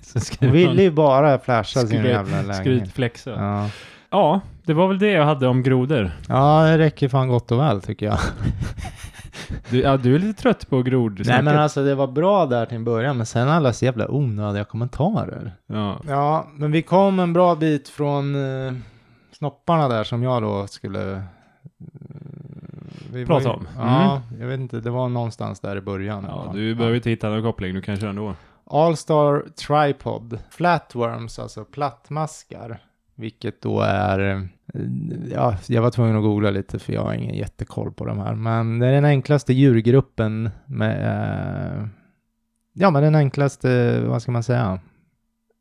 Speaker 2: sen skriver
Speaker 1: Hon
Speaker 2: man-
Speaker 1: ville ju bara flasha sin
Speaker 2: Skryt-
Speaker 1: jävla lägenhet.
Speaker 2: Skrytflexa. Ja.
Speaker 1: Ja.
Speaker 2: det var väl det jag hade om grodor.
Speaker 1: ja, det räcker fan gott och väl tycker jag.
Speaker 2: Du, ja, du är lite trött på grodor.
Speaker 1: Nej men alltså det var bra där till en början, men sen alla så jävla onödiga kommentarer.
Speaker 2: Ja.
Speaker 1: Ja, men vi kom en bra bit från eh, snopparna där som jag då skulle... eh, vi
Speaker 2: Prata
Speaker 1: var ju-
Speaker 2: om. Mm.
Speaker 1: Ja, jag vet inte, det var någonstans där i början. i alla
Speaker 2: ja,
Speaker 1: fall.
Speaker 2: du behöver inte hitta någon koppling, du kan köra ändå.
Speaker 1: All-Star Tripod. Flatworms, alltså plattmaskar. Vilket då är... eh, Ja, jag var tvungen att googla lite för jag har ingen jättekoll på de här. Men det är den enklaste djurgruppen med... eh, Ja, men den enklaste, vad ska man säga,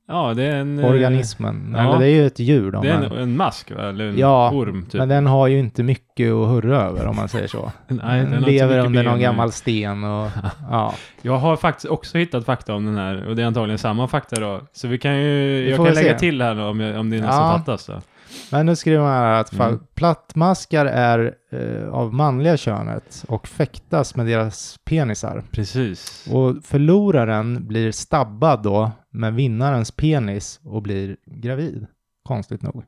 Speaker 2: Ja, det är en... eh,
Speaker 1: organismen.
Speaker 2: ja.
Speaker 1: Eller det är ju ett djur då.
Speaker 2: Det är
Speaker 1: Men,
Speaker 2: en, en mask, va? eller en
Speaker 1: Ja,
Speaker 2: orm typ.
Speaker 1: men den har ju inte mycket att hurra över om man säger så.
Speaker 2: Nej,
Speaker 1: den
Speaker 2: har inte
Speaker 1: lever
Speaker 2: mycket
Speaker 1: under någon
Speaker 2: ben.
Speaker 1: gammal sten och... ja.
Speaker 2: Jag har faktiskt också hittat fakta om den här, och det är antagligen samma fakta då. Så vi kan ju, jag
Speaker 1: får
Speaker 2: kan
Speaker 1: väl
Speaker 2: lägga
Speaker 1: se.
Speaker 2: till här då, om, jag, om det är något
Speaker 1: Ja.
Speaker 2: som fattas. Då.
Speaker 1: Men nu skriver man här att
Speaker 2: Mm.
Speaker 1: fa- plattmaskar är eh, av manliga könet och fäktas med deras penisar.
Speaker 2: Precis.
Speaker 1: Och förloraren blir stabbad då med vinnarens penis och blir gravid. Konstigt nog.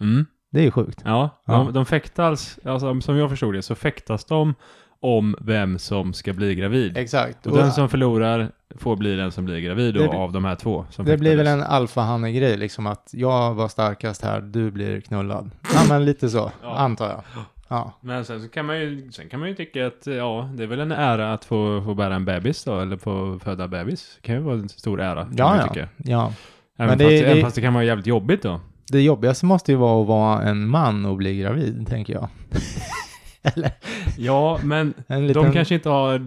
Speaker 2: Mm.
Speaker 1: Det är ju sjukt.
Speaker 2: Ja,
Speaker 1: Ja.
Speaker 2: De, de fäktas, alltså, som jag förstod det, så fäktas de om vem som ska bli gravid.
Speaker 1: Exakt.
Speaker 2: Och den som förlorar får bli den som blir gravid då,
Speaker 1: Det blir-
Speaker 2: av de här två. Som
Speaker 1: det blir väl
Speaker 2: fäktades.
Speaker 1: en alfahanne-grej, liksom att jag var starkast här, du blir knullad. Ja, men lite så,
Speaker 2: Ja.
Speaker 1: antar jag. Ja.
Speaker 2: Men sen, så kan man ju, sen kan man ju tycka att ja, det är väl en ära att få, få bära en bebis då, eller få föda bebis. Det kan ju vara en stor ära. kan man ju
Speaker 1: Ja, ja.
Speaker 2: tycka.
Speaker 1: ja.
Speaker 2: Även,
Speaker 1: Men det-
Speaker 2: fast, det, även
Speaker 1: det-
Speaker 2: fast det kan vara jävligt jobbigt då.
Speaker 1: Det jobbigaste måste ju vara att vara en man och bli gravid, tänker jag.
Speaker 2: Ja, men
Speaker 1: En
Speaker 2: de kanske inte har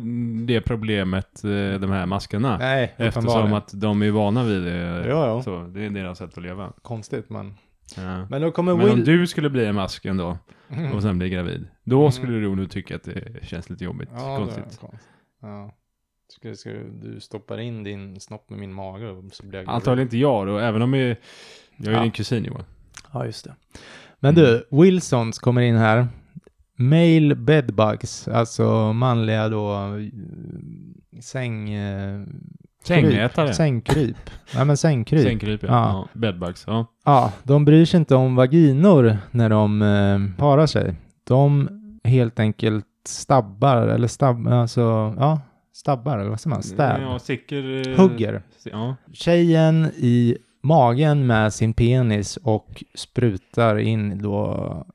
Speaker 2: det problemet, eh, de här maskerna.
Speaker 1: Nej,
Speaker 2: eftersom
Speaker 1: uppenbarligen.
Speaker 2: att de är vana vid det.
Speaker 1: Ja, ja.
Speaker 2: Så, det är deras sätt att leva.
Speaker 1: Konstigt, men...
Speaker 2: Ja.
Speaker 1: Men då kommer
Speaker 2: Men om
Speaker 1: Will...
Speaker 2: du skulle bli en mask ändå
Speaker 1: Mm.
Speaker 2: och sen bli gravid, då skulle du nog tycka att det känns lite jobbigt.
Speaker 1: Ja,
Speaker 2: konstigt.
Speaker 1: Det är konstigt. Ja. Ska, ska du stoppar in din snopp med min mage och så blir jag gravid.
Speaker 2: Antagligen inte jag då, även om jag, jag är
Speaker 1: Ja.
Speaker 2: din kusin Johan.
Speaker 1: Ja, just det. Men du, Wilsons kommer in här. Male bedbugs, alltså manliga då eh, säng... eh,
Speaker 2: Sängätare.
Speaker 1: kryp. Sängkryp. Nej, men sängkryp.
Speaker 2: Sängkryp, ja.
Speaker 1: Ja.
Speaker 2: ja. Bedbugs, ja.
Speaker 1: Ja, de bryr sig inte om vaginor när de eh, parar sig. De helt enkelt stabbar, eller stabb, alltså, ja, stabbar, eller vad säger man? Stab.
Speaker 2: Ja, sticker... eh,
Speaker 1: Hugger.
Speaker 2: Ja.
Speaker 1: Tjejen i magen med sin penis och sprutar in då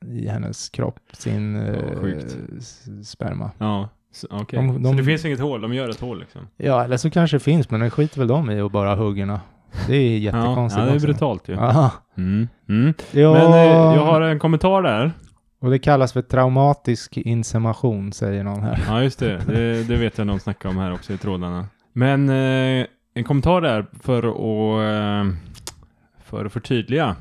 Speaker 1: i hennes kropp sin eh,
Speaker 2: sjukt.
Speaker 1: s- sperma.
Speaker 2: Ja, så- okej.
Speaker 1: De- de-
Speaker 2: Så det finns inget hål, de gör ett hål liksom.
Speaker 1: Ja, eller så kanske det finns, men det skiter väl de i att bara huggerna. Det är
Speaker 2: Ja,
Speaker 1: jättekonstigt
Speaker 2: ja, det är
Speaker 1: också.
Speaker 2: brutalt ju.
Speaker 1: Aha.
Speaker 2: Mm. Mm.
Speaker 1: Ja,
Speaker 2: Men eh, jag har en kommentar där.
Speaker 1: och det kallas för traumatisk insemination, säger någon här.
Speaker 2: Ja, just det. Det, det vet jag någon snackar om här också i trådarna. Men eh, en kommentar där för att, eh, för att förtydliga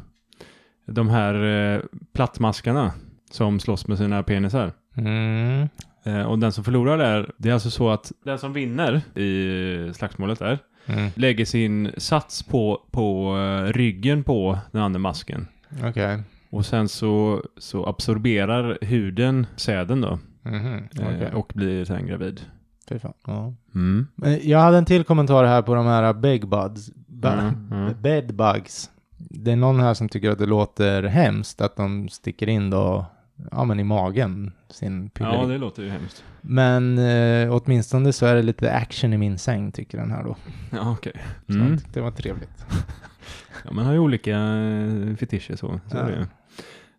Speaker 2: de här eh, plattmaskarna som slåss med sina penisar.
Speaker 1: Mm.
Speaker 2: Eh, och den som förlorar där, det är alltså så att den som vinner i slagsmålet där
Speaker 1: Mm.
Speaker 2: lägger sin sats på, på eh, ryggen på den andra masken.
Speaker 1: Okej.
Speaker 2: Och sen så, så absorberar huden säden då
Speaker 1: Mhm.
Speaker 2: eh,
Speaker 1: Okej.
Speaker 2: och blir sen gravid.
Speaker 1: Fy fan. Ja.
Speaker 2: Mm.
Speaker 1: Men Jag hade en till kommentar här på de här big buds. Ba-
Speaker 2: Mm, mm.
Speaker 1: Bedbugs. Det är någon här som tycker att det låter hemskt att de sticker in då, ja men i magen, sin pilleri.
Speaker 2: Ja, det låter ju hemskt.
Speaker 1: Men eh, åtminstone så är det lite action i min säng, tycker den här då.
Speaker 2: Ja, okej.
Speaker 1: Så
Speaker 2: Mm.
Speaker 1: jag tyckte det var trevligt.
Speaker 2: Ja, man har ju olika eh, fetischer så.
Speaker 1: Ja.
Speaker 2: så ja. Är det. ju.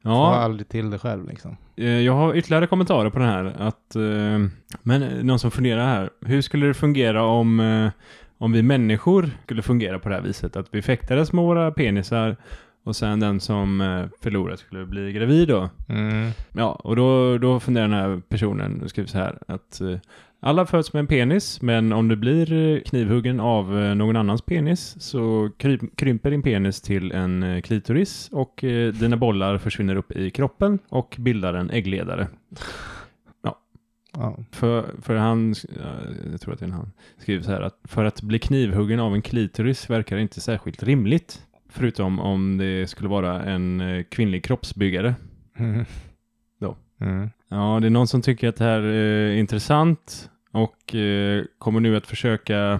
Speaker 1: Ja. Får
Speaker 2: ja,
Speaker 1: aldrig till det själv liksom.
Speaker 2: eh, jag har ytterligare kommentarer på den här. Att, eh, men eh, någon som funderar här. Hur skulle det fungera om, eh, om vi människor skulle fungera på det här viset? Att vi fäktades med våra penisar och sen den som eh, förlorat skulle bli gravid då.
Speaker 1: Mm.
Speaker 2: Ja, och då, då funderar den här personen, nu skriver så här, att eh, alla föds med en penis, men om du blir eh, knivhuggen av eh, någon annans penis så kryp, krymper din penis till en eh, klitoris och eh, dina bollar försvinner upp i kroppen och bildar en äggledare.
Speaker 1: Ja.
Speaker 2: För, för han, eh, jag tror att det är en han, skriver så här att för att bli knivhuggen av en klitoris verkar inte särskilt rimligt. Förutom om det skulle vara en eh, kvinnlig kroppsbyggare.
Speaker 1: Mm.
Speaker 2: Då.
Speaker 1: Mm.
Speaker 2: Ja, det är någon som tycker att det här eh, är intressant och eh, kommer nu att försöka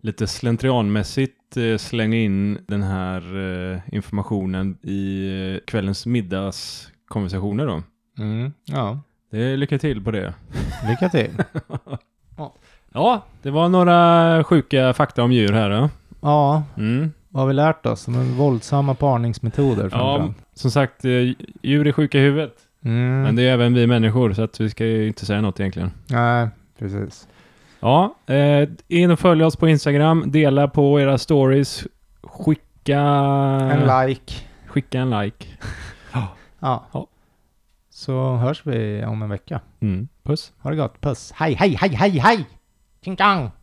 Speaker 2: lite slentrianmässigt eh, slänga in den här eh, informationen i eh, kvällens middagskonversationer då.
Speaker 1: Mm. Ja,
Speaker 2: Det är lycka till på det.
Speaker 1: lycka till.
Speaker 2: Ja, det var några sjuka fakta om djur här då.
Speaker 1: Ja,
Speaker 2: Mm.
Speaker 1: vad har vi lärt oss? De är våldsamma parningsmetoder
Speaker 2: Ja,
Speaker 1: framförallt.
Speaker 2: som sagt, eh, djur är sjuka i huvudet.
Speaker 1: Mm.
Speaker 2: Men det är även vi människor, så att vi ska ju inte säga något egentligen.
Speaker 1: Nej, precis.
Speaker 2: Ja, eh, in och följ oss på Instagram, dela på era stories, skicka Eh.
Speaker 1: En like.
Speaker 2: Skicka en like.
Speaker 1: Ja.
Speaker 2: Ja.
Speaker 1: Så hörs vi om en vecka.
Speaker 2: Mm. Puss.
Speaker 1: Ha det gott. Puss. Hej, hej, hej, hej, hej! Tjing tjang!